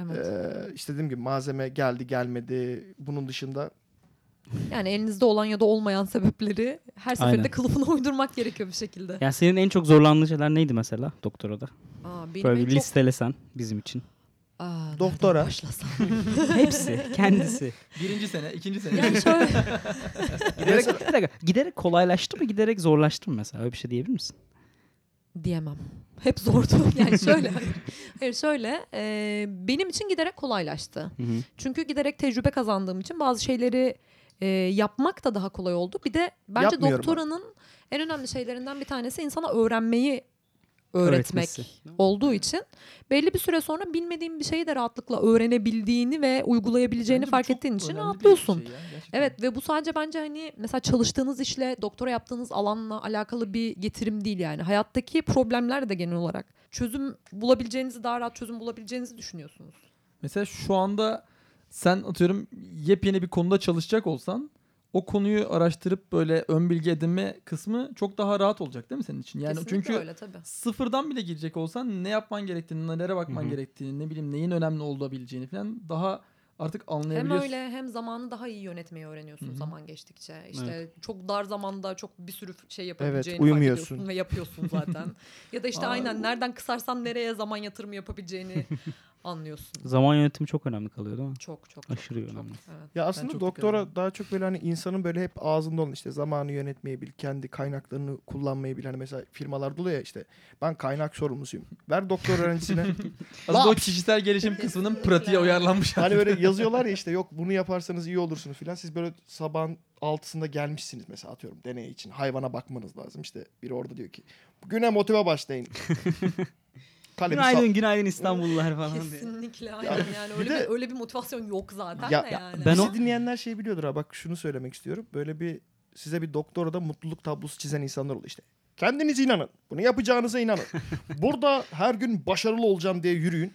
Evet. e, işte dediğim gibi malzeme geldi gelmedi. Bunun dışında Yani elinizde olan ya da olmayan sebepleri her seferinde Aynen. kılıfına uydurmak gerekiyor bir şekilde. Yani senin en çok zorlandığın şeyler neydi mesela doktorada? Aa, benim Böyle en bir çok- listelesen bizim için. Aa, nereden Doktora. başlasam? [LAUGHS] [LAUGHS] Hepsi, kendisi. Birinci sene, ikinci sene. [LAUGHS] yani şöyle giderek, bir dakika, giderek kolaylaştı mı, giderek zorlaştı mı mesela? Öyle bir şey diyebilir misin? diyemem. Hep zordu. [LAUGHS] Yani şöyle. Hayır şöyle. e, benim için giderek kolaylaştı. Çünkü giderek tecrübe kazandığım için bazı şeyleri e, yapmak da daha kolay oldu. Bir de bence Yapmıyorum doktoranın en önemli şeylerinden bir tanesi insana öğrenmeyi öğretmek Öğretmesi. olduğu için belli bir süre sonra bilmediğin bir şeyi de rahatlıkla öğrenebildiğini ve uygulayabileceğini fark ettiğin için şey. rahatlıyorsun. Evet ve bu sadece bence hani mesela çalıştığınız işle doktora yaptığınız alanla alakalı bir getirim değil yani. Hayattaki problemler de genel olarak çözüm bulabileceğinizi daha rahat çözüm bulabileceğinizi düşünüyorsunuz. Mesela şu anda sen atıyorum yepyeni bir konuda çalışacak olsan o konuyu araştırıp böyle ön bilgi edinme kısmı çok daha rahat olacak değil mi senin için? Yani Kesinlikle çünkü öyle tabii. sıfırdan bile girecek olsan ne yapman gerektiğini, nelere bakman Hı hı. gerektiğini, ne bileyim neyin önemli olabileceğini falan daha artık Hem anlayabiliyorsun. öyle hem zamanı daha iyi yönetmeyi öğreniyorsun Hı hı. zaman geçtikçe. İşte çok dar zamanda çok bir sürü şey yapabileceğini uyumuyorsun. fark ediyorsun ve yapıyorsun [LAUGHS] zaten. ya da işte Aa. aynen nereden kısarsan nereye zaman [LAUGHS] yatırımı yapabileceğini anlıyorsun. Zaman yönetimi çok önemli kalıyor değil mi? Çok çok. çok, Aşırı çok, önemli. evet. Ya çok aslında doktora daha çok böyle hani insanın böyle hep ağzında olan işte zamanı yönetmeyi bil, kendi kaynaklarını kullanmayı bil. Hani mesela firmalarda oluyor ya işte ben kaynak sorumlusuyum. Ver [LAUGHS] doktor öğrencisine. Aslında o kişisel gelişim kısmının pratiğe uyarlanmış. hani böyle yazıyorlar ya işte yok bunu yaparsanız iyi olursunuz filan. Siz böyle sabahın altısında gelmişsiniz mesela atıyorum deney için. Hayvana bakmanız lazım. İşte biri orada diyor ki güne [LAUGHS] motive başlayın. Kalemi sal- Günaydın, günaydın İstanbullular falan diye. Kesinlikle aynen yani öyle bir, de- öyle bir motivasyon yok zaten Ya- de ya- Ben yani. Ben o- dinleyenler şey biliyordur ha bak şunu söylemek istiyorum. Böyle bir size bir doktorada mutluluk tablosu çizen insanlar oluyor işte. Kendinize inanın. Bunu yapacağınıza [LAUGHS] inanın. Burada her gün başarılı olacağım diye yürüyün.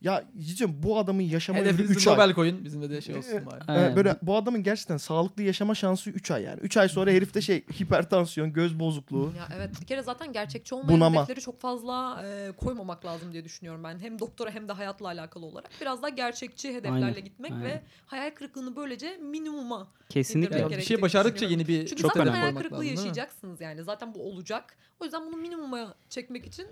Ya diyeceğim bu adamın Hani yaşama şey ömrü 3 Hedefinizi ay. Nobel koyun. Bizim de şey olsun bari. Ee, Aynen. böyle bu adamın gerçekten sağlıklı yaşama şansı 3 ay yani. 3 ay sonra herifte şey [LAUGHS] hipertansiyon, göz bozukluğu. Ya evet bir kere zaten gerçekçi olmayan Bunama. hedefleri çok fazla e, koymamak lazım diye düşünüyorum ben. Hem doktora hem de hayatla alakalı olarak. Biraz daha gerçekçi hedeflerle Aynen, gitmek aynen. ve hayal kırıklığını böylece minimuma Kesinlikle. Yani Yani bir gerektiğini şey başardıkça yeni düşünüyorum. bir Çünkü E, Çok zaten önemli. hayal koymak lazım, kırıklığı değil mi? yaşayacaksınız yani. Zaten bu olacak. O yüzden bunu minimuma çekmek için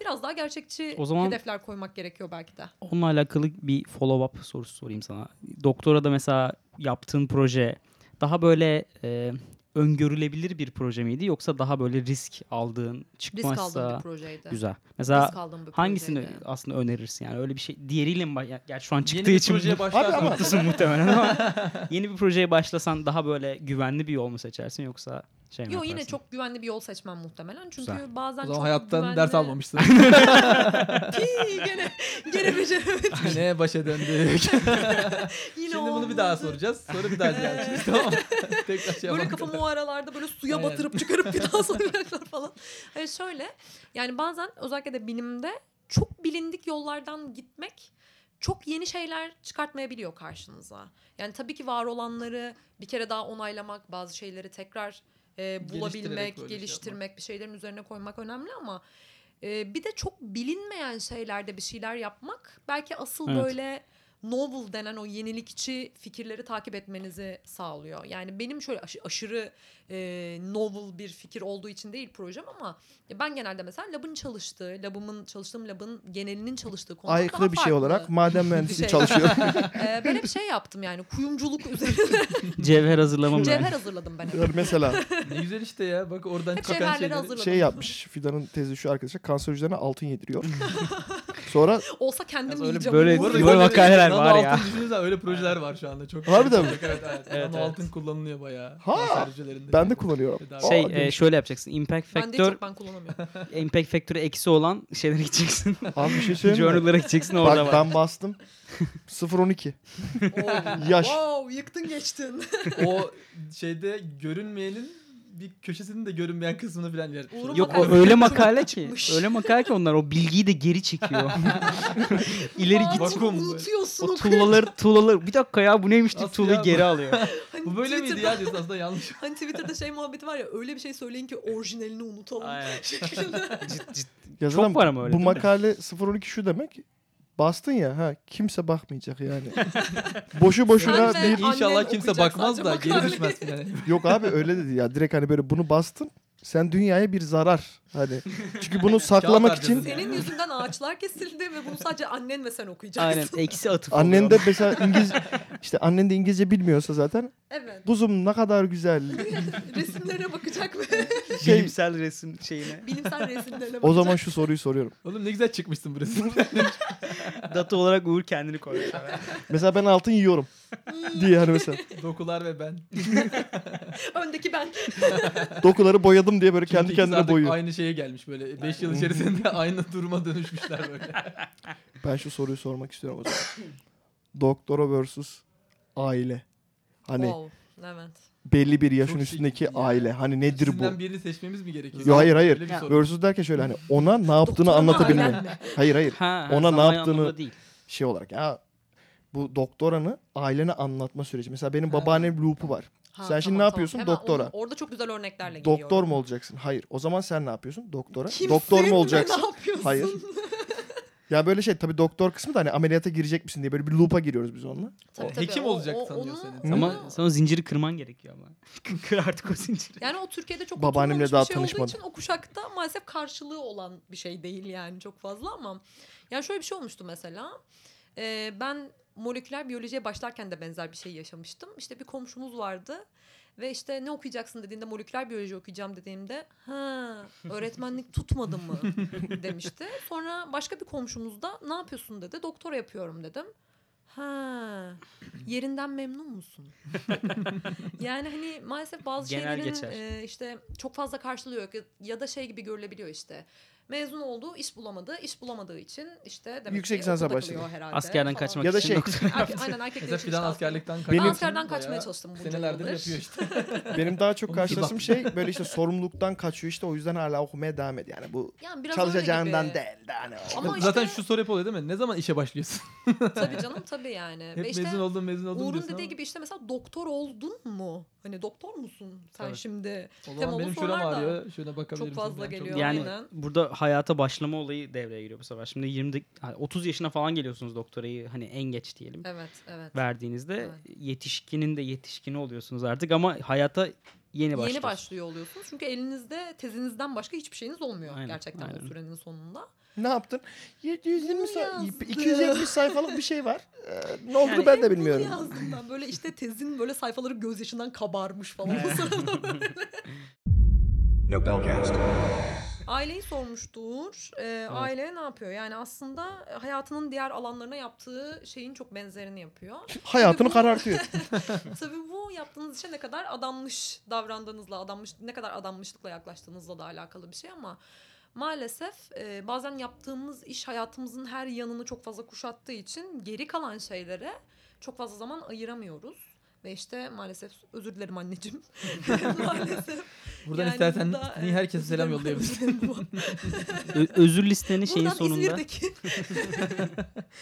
biraz daha gerçekçi O zaman- hedefler koymak gerekiyor belki de. Onunla alakalı bir follow up sorusu sorayım sana. Doktora da mesela yaptığın proje daha böyle e, öngörülebilir bir proje miydi yoksa daha böyle risk aldığın Risk çıkmazsa aldığım bir projeydi. güzel. Mesela Risk aldığım bir hangisini projeydi. aslında önerirsin yani öyle bir şey diğeriyle mi baş- ya- gerçi şu an Yeni çıktığı bir için projeye bu- başlarsan. ama- haklısın [LAUGHS] muhtemelen ama yeni bir projeye başlasan daha böyle güvenli bir yol mu seçersin yoksa şey mi Yo yine yaparsın? çok güvenli bir yol seçmem muhtemelen. Çünkü Güzel. bazen O zaman çok hayattan güvenli... ders [LAUGHS] almamışsın. Pii, gene gene [LAUGHS] beceremedim. ne başa döndük. Yine [LAUGHS] Şimdi bunu bir olmadı. daha soracağız. Sonra bir daha geleceğiz. tamam. [LAUGHS] mı? Tekrar şey Böyle yapalım. kafamı o aralarda böyle suya Aynen. batırıp çıkarıp bir [LAUGHS] daha soracaklar falan. Hayır şöyle yani bazen özellikle de bilimde çok bilindik yollardan gitmek çok yeni şeyler çıkartmayabiliyor karşınıza. Yani tabii ki var olanları bir kere daha onaylamak, bazı şeyleri tekrar e, Geliştirerek bulabilmek, böyle şey geliştirmek, bir şeylerin üzerine koymak önemli ama e, bir de çok bilinmeyen şeylerde bir şeyler yapmak belki asıl Evet. böyle novel denen o yenilikçi fikirleri takip etmenizi sağlıyor. Yani benim şöyle aş- aşırı e, novel bir fikir olduğu için değil projem ama ya ben genelde mesela labın çalıştığı, labımın çalıştığım labın genelinin çalıştığı konular daha Aykırı bir şey farklı. olarak [LAUGHS] maden mühendisi şey. çalışıyor. [LAUGHS] E, ben hep şey yaptım yani [LAUGHS] kuyumculuk üzerine [LAUGHS] Cevher hazırlama mı? cevher hazırladım ben hep. Mesela Ne güzel işte ya. Bak oradan Hep çıkan cevherleri şeyleri. hazırladım. şey yapmış Fidan'ın tezi şu arkadaşa kanserojenlerine altın [LAUGHS] yediriyor. Sonra Olsa kendim öyle yiyeceğim. böyle- Umarım- Böyle makaleler var ya. Altın düşünsene, öyle projeler var şu anda. Çok Harbiden mi? Evet evet. Evet, Nano evet. altın kullanılıyor bayağı. Ha! Kansercilerinde. ben de kullanıyorum. Tedavi. [LAUGHS] Şey Aa, e, şöyle yapacaksın. Impact Ben de hiç Factor, yok, ben kullanamıyorum. [LAUGHS] Impact Factor'ı eksi olan şeylere gideceksin. Abi bir [LAUGHS] şey söyleyeyim mi? Journal'lara gideceksin orada Bak var. ben [LAUGHS] bastım. 012. Oo. Yaş. Wow, yıktın geçtin. o şeyde görünmeyenin bir köşesinin de görünmeyen kısmını falan yer. Uğur'un Yok o makale- öyle makale ki. Çıkmış. Öyle makale ki onlar o bilgiyi de geri [LAUGHS] çekiyor. İleri git. Vakum. Unutuyorsun O o tuğlaları tuğlaları bir dakika ya bu neymiş diye Nasıl tuğlayı ya? geri alıyor. [LAUGHS] Hani Bu böyle miydi Twitter'da- ya diyorsun aslında yanlış. Hani Twitter'da şey muhabbeti var ya öyle bir şey söyleyin ki orijinalini [LAUGHS] unutalım. Aynen. şeklinde. Cid- cid- Yazılan Çok var ama öyle Bu değil mi? makale 012 şu demek. Bastın ya ha kimse bakmayacak [LAUGHS] yani. Boşu boşuna Sen de- bir İnşallah Annen kimse okuyacak bakmaz da sadece geri makale. düşmez yani. Yok abi öyle dedi ya. Direkt hani böyle bunu bastın. Sen dünyaya bir zarar. Hani çünkü bunu saklamak harcadın için yani. Senin yüzünden ağaçlar kesildi ve bunu sadece annen ve sen okuyacaksın. Aynen eksi [LAUGHS] atıf annen oluyor. de mesela İngiliz işte annen de İngilizce bilmiyorsa zaten Evet. [LAUGHS] kuzum ne kadar güzel. Resimlere bakacak ve şey- bilimsel resim şeyine [LAUGHS] bilimsel resimlerine bakacak. O zaman şu soruyu soruyorum. Oğlum ne güzel çıkmışsın burası. [LAUGHS] data olarak Uğur kendini [LAUGHS] koyuyor. Mesela ben altın yiyorum Hmm. diye hani mesela Dokular ve ben. öndeki ben dokuları boyadım diye böyle kendi İkisi kendine artık boyuyor. Aynı şeye gelmiş böyle. 5 yıl içerisinde [LAUGHS] aynı duruma dönüşmüşler böyle. Ben şu soruyu sormak istiyorum o zaman. [COUGHS] Doktora versus aile. Hani Wow, Evet. belli bir yaşın Çok üstündeki çirkin ya. aile. Hani [LAUGHS] nedir bu? İkisinden birini seçmemiz mi gerekiyor? Yo, hayır, hayır. Öyle bir soru. Versus derken şöyle hani ona ne yaptığını Doktora mı, anlatabilme. ailen mi? Hayır hayır. Ha, Ona ne zaman yaptığını- anlamında değil. Şey olarak ya bu doktoranı ailene anlatma süreci. Mesela benim babaannem loop'u var. Ha, Sen şimdi tamam, ne yapıyorsun? Hemen Doktora. onu- orada çok güzel örneklerle geliyor. Doktor mu olacaksın? Hayır. O zaman sen ne yapıyorsun? Doktora. Kimsin Doktor ve mu olacaksın? Ne yapıyorsun? Hayır. Ya böyle şey tabii doktor kısmı da hani ameliyata girecek misin diye böyle bir loop'a giriyoruz biz onunla. Tabii, tabii, Hekim o- olacak o- sanıyor onu- seni. Hı. Ama sonra zinciri kırman gerekiyor ama. Kır artık o zinciri. Yani o Türkiye'de çok Babaannemle Babaannemle daha bir şey olduğu tanışmadım. için o kuşakta maalesef karşılığı olan bir şey değil yani çok fazla ama yani şöyle bir şey olmuştu mesela. Ee, ben moleküler biyolojiye başlarken de benzer bir şey yaşamıştım. İşte bir komşumuz vardı ve işte ne okuyacaksın dediğinde moleküler biyoloji okuyacağım dediğimde ha öğretmenlik tutmadı mı [LAUGHS] demişti. Sonra başka bir komşumuz da ne yapıyorsun dedi. Doktora yapıyorum dedim. Ha yerinden memnun [LAUGHS] musun? yani hani maalesef bazı Genel şeylerin geçer. e, işte çok fazla karşılığı yok ya- ya da şey gibi görülebiliyor işte. Mezun oldu, iş bulamadı. iş bulamadığı için işte demek Yüksek ki lisansa okulda başladı. kalıyor herhalde Askerden falan. kaçmak Ya da için şey- doktora- Erke- aynen erkekler Mesela için filan işte askerlikten kaçmaya Benim- Ben çalışıyor. askerden Bayağı kaçmaya çalıştım bunca Senelerdir yıldır. yapıyor işte. Benim daha çok Onun için karşılaştığım bak. şey böyle işte sorumluluktan kaçıyor işte o yüzden hala okumaya devam ediyor. Yani bu Yani biraz öyle çalışacağından gibi. değil de hani. Ama [LAUGHS] işte- Zaten şu soru hep oluyor değil mi? Ne zaman işe başlıyorsun? [LAUGHS] Tabii canım tabii yani. hep Ve işte mezun oldum mezun oldum Uğur'un diyorsun dediği ama gibi işte mesela doktor oldun mu? Hani doktor musun sen Tabii. şimdi? o zaman temalı benim şuram sorular da ağrıyor. Şöyle bakabilirim. çok fazla falan. geliyor. Yani aynen. burada hayata başlama olayı devreye giriyor bu sefer. Şimdi 20 de- hani 30 yaşına falan geliyorsunuz doktorayı hani en geç diyelim. Evet evet. Verdiğinizde yetişkinin de yetişkini oluyorsunuz artık ama hayata yeni başlıyorsunuz. Yeni başlıyor oluyorsunuz. Çünkü elinizde tezinizden başka hiçbir şeyiniz olmuyor Aynen, gerçekten aynen. o sürenin sonunda. Ne yaptın? 720 say- yazdı. 270 sayfalık bir şey [LAUGHS] var. Ee, ne olduğunu ben de bilmiyorum. Bunu yazdım ben. Hani Böyle işte tezin böyle sayfaları gözyaşından kabarmış falan. O sırada böyle. Aileyi sormuştur. Ee, Aile ne yapıyor? Yani aslında hayatının diğer alanlarına yaptığı şeyin çok benzerini yapıyor. Hayatını Tabii bu- karartıyor. [LAUGHS] Tabii bu yaptığınız işe ne kadar adanmış davrandığınızla, adanmış ne kadar adanmışlıkla yaklaştığınızla da alakalı bir şey ama maalesef e, bazen yaptığımız iş hayatımızın her yanını çok fazla kuşattığı için geri kalan şeylere çok fazla zaman ayıramıyoruz. Ve işte maalesef özür [LAUGHS] dilerim anneciğim. maalesef. Buradan yani istersen burada, niye e, herkese özür dilerim [LAUGHS] selam baba, yollayabilirsin. özür dilerim baba. Ö- özür listenin şeyin Buradan sonunda. İzmir'deki.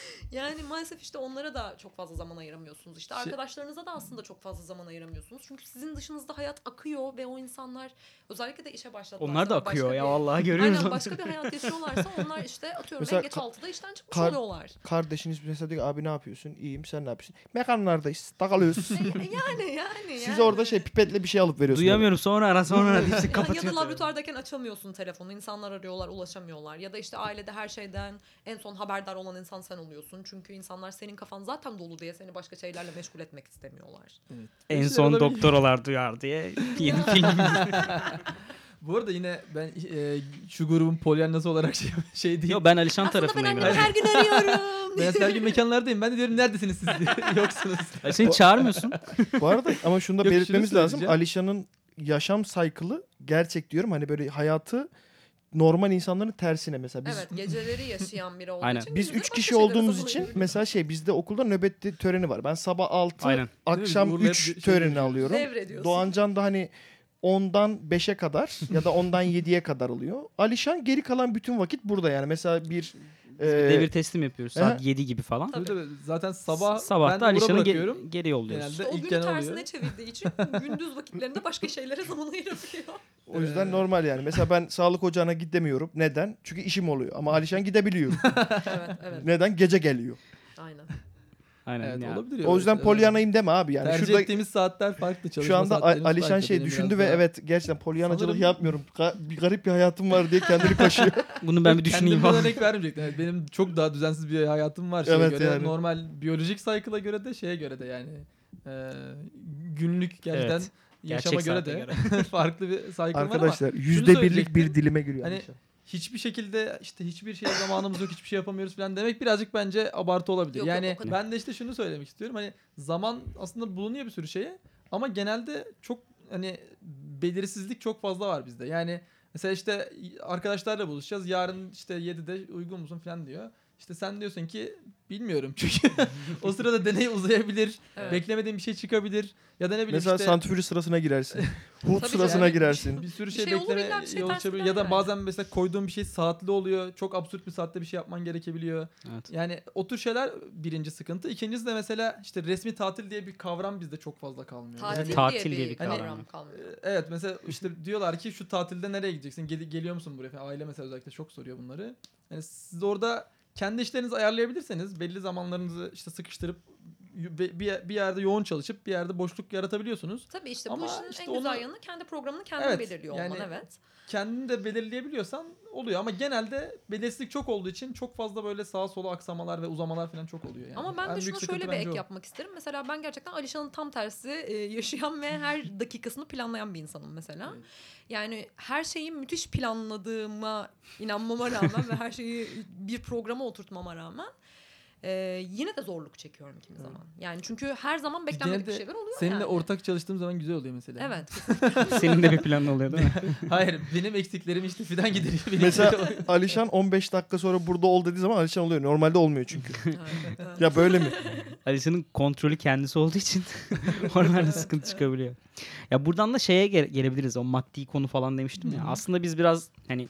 [LAUGHS] yani maalesef işte onlara da çok fazla zaman ayıramıyorsunuz. İşte Şey- arkadaşlarınıza da aslında çok fazla zaman ayıramıyorsunuz. Çünkü sizin dışınızda hayat akıyor ve o insanlar özellikle de işe başladılar. Onlar da akıyor ya vallahi görüyoruz. Aynen onu. başka bir hayat yaşıyorlarsa onlar işte atıyorum Mesela en geç ka- 6'da işten çıkmış kar- [LAUGHS] oluyorlar. Kardeşiniz mesela diyor ki, abi ne yapıyorsun? İyiyim sen ne yapıyorsun? Mekanlardayız [LAUGHS] takılıyoruz. E, yani yani. Siz yani. orada şey pipetle bir şey alıp veriyorsunuz. Duyamıyorum sonra ara sonra ara [LAUGHS] deyip Ya- kapatıyor. Ya da telefonu. laboratuvardayken açamıyorsun telefonu. İnsanlar arıyorlar, ulaşamıyorlar. Ya da işte ailede her şeyden en son haberdar olan insan sen oluyorsun. Çünkü insanlar senin kafan zaten dolu diye seni başka şeylerle meşgul etmek istemiyorlar. En şey Bir son şeyler olabilir. doktoralar duyar diye yeni [LAUGHS] film. Bu arada yine ben e, şu grubun polyanlası olarak şey, [LAUGHS] şey değil. Yo ben Alişan Aslında ben tarafındayım. annemi her gün [LAUGHS] arıyorum. Ben her gün mekanlardayım. Ben de diyorum neredesiniz siz? [LAUGHS] Yoksunuz. Ay, Seni [LAUGHS] çağırmıyorsun. Bu arada ama [LAUGHS] şunu da Yok, belirtmemiz şunu lazım. söyleyeceğim. Alişan'ın yaşam saykılı gerçek diyorum. Hani böyle hayatı normal insanların tersine mesela. Biz [LAUGHS] evet geceleri yaşayan biri olduğu Aynen. Biz için. gündüzleri üç başka kişi şeylere olduğumuz zaman için [LAUGHS] ayırıyoruz. mesela şey bizde okulda nöbet töreni var. Ben sabah 6 Aynen. akşam Uğur'la hep 3 şey töreni yapıyoruz. alıyorum. Devrediyorsun. Doğancan da hani 10'dan 5'e kadar ya [LAUGHS] da 10'dan 7'ye kadar oluyor. Alişan geri kalan bütün vakit burada yani. Mesela bir Biz e, bir devir teslim yapıyoruz saat aha. 7 gibi falan. Tabii tabii. Zaten sabah, Sabah ben da de uğra Alişan'ı ge- bırakıyorum. geri yolluyoruz. Genelde O ilk günü gelen tersine oluyor. çevirdiği için gündüz vakitlerinde başka şeylere zaman ayırabiliyor. o yüzden normal yani. [LAUGHS] Mesela ben sağlık ocağına gidemiyorum. Neden? Çünkü işim oluyor. Ama [LAUGHS] Alişan gidebiliyor. evet evet Neden? Gece geliyor. aynen. Aynen. Evet, ya. olabilir. ya. O yüzden Evet. polyanayım deme abi yani. Tercih Şurada ettiğimiz saatler farklı. şu Çalışma anda A- saatlerimiz Alişan farklı. şey Benim düşündü biraz ve daha- evet gerçekten polyanacılık Sanırım- yapmıyorum. Ga- bir garip bir hayatım var [LAUGHS] diye kendini kaşıyor. Bunu ben bir düşüneyim Kendimden falan. örnek vermeyecektim. Evet, benim çok daha düzensiz bir hayatım var. Şeye Evet, göre, yani. Normal biyolojik cycle'a göre de şeye göre de yani. Ee, günlük gerçekten Evet. yaşama Gerçek göre saate de [LAUGHS] farklı bir cycle'ım var ama Arkadaşlar yüzde birlik bir söyleyecektim. dilime giriyor. Hani- Alişan. hiçbir şekilde işte hiçbir şeye zamanımız yok hiçbir şey yapamıyoruz falan demek birazcık bence abartı olabilir. Yok, yok, yani o kadar. ben de işte şunu söylemek istiyorum hani zaman aslında bulunuyor bir sürü şeye ama genelde çok hani belirsizlik çok fazla var bizde. Yani mesela işte arkadaşlarla buluşacağız yarın işte 7'de uygun musun falan diyor. İşte sen diyorsun ki bilmiyorum [LAUGHS] çünkü o sırada deney uzayabilir, Evet. beklemediğin bir şey çıkabilir ya da ne bileyim Mesela işte... santifüri [LAUGHS] sırasına girersin. Hut Tabii sırasına yani. girersin. Bir sürü Bir şey, şey olur, bekleme illa bir şey yol ters açabilir. gider Ya da yani. bazen mesela koyduğun bir şey saatli oluyor. Çok absürt bir saatte bir şey yapman gerekebiliyor. Evet. Yani o tür şeyler birinci sıkıntı. İkincisi de mesela işte resmi tatil diye bir kavram bizde çok fazla kalmıyor. Tatil, Yani, diye, Tatil bir, diye bir kavram kavram. e, kalmıyor. evet mesela işte diyorlar ki şu tatilde nereye gideceksin? Gel- geliyor musun buraya? falan. Aile mesela özellikle çok soruyor bunları. Yani siz orada kendi işlerinizi ayarlayabilirseniz belli zamanlarınızı işte sıkıştırıp y- bir- bir bir yerde yoğun çalışıp bir yerde boşluk yaratabiliyorsunuz. Tabii işte Ama bu işin işte en güzel onu- yanı kendi programını kendin Evet, belirliyor yani- olman evet. kendini de belirleyebiliyorsan oluyor ama genelde belirsizlik çok olduğu için çok fazla böyle sağa sola aksamalar ve uzamalar falan çok oluyor yani. Ama ben En de büyük şuna sıkıntı şöyle bir bence ek o. yapmak isterim. Mesela ben gerçekten Alişan'ın tam tersi e, yaşayan ve [LAUGHS] her dakikasını planlayan bir insanım mesela. Evet. Yani her şeyi müthiş planladığıma inanmama rağmen ve her şeyi [LAUGHS] bir programa oturtmama rağmen e, yine de zorluk çekiyorum kimi Evet. zaman. Yani çünkü her zaman beklenmedik bir de şeyler oluyor Seninle yani. ortak çalıştığım zaman güzel oluyor mesela. [LAUGHS] Evet. Senin de bir planın oluyor değil mi? Hayır benim eksiklerimi işte fidan gideriyor. Benim [LAUGHS] [LAUGHS] Mesela Alişan 15 dakika sonra burada ol dediği zaman Alişan oluyor. Normalde olmuyor çünkü. [LAUGHS] evet, evet. Ya böyle mi? Alişan'ın kontrolü kendisi olduğu için [LAUGHS] oralarda sıkıntı çıkabiliyor. Ya buradan da şeye ge- gelebiliriz. O maddi konu falan demiştim ya. Aslında biz biraz hani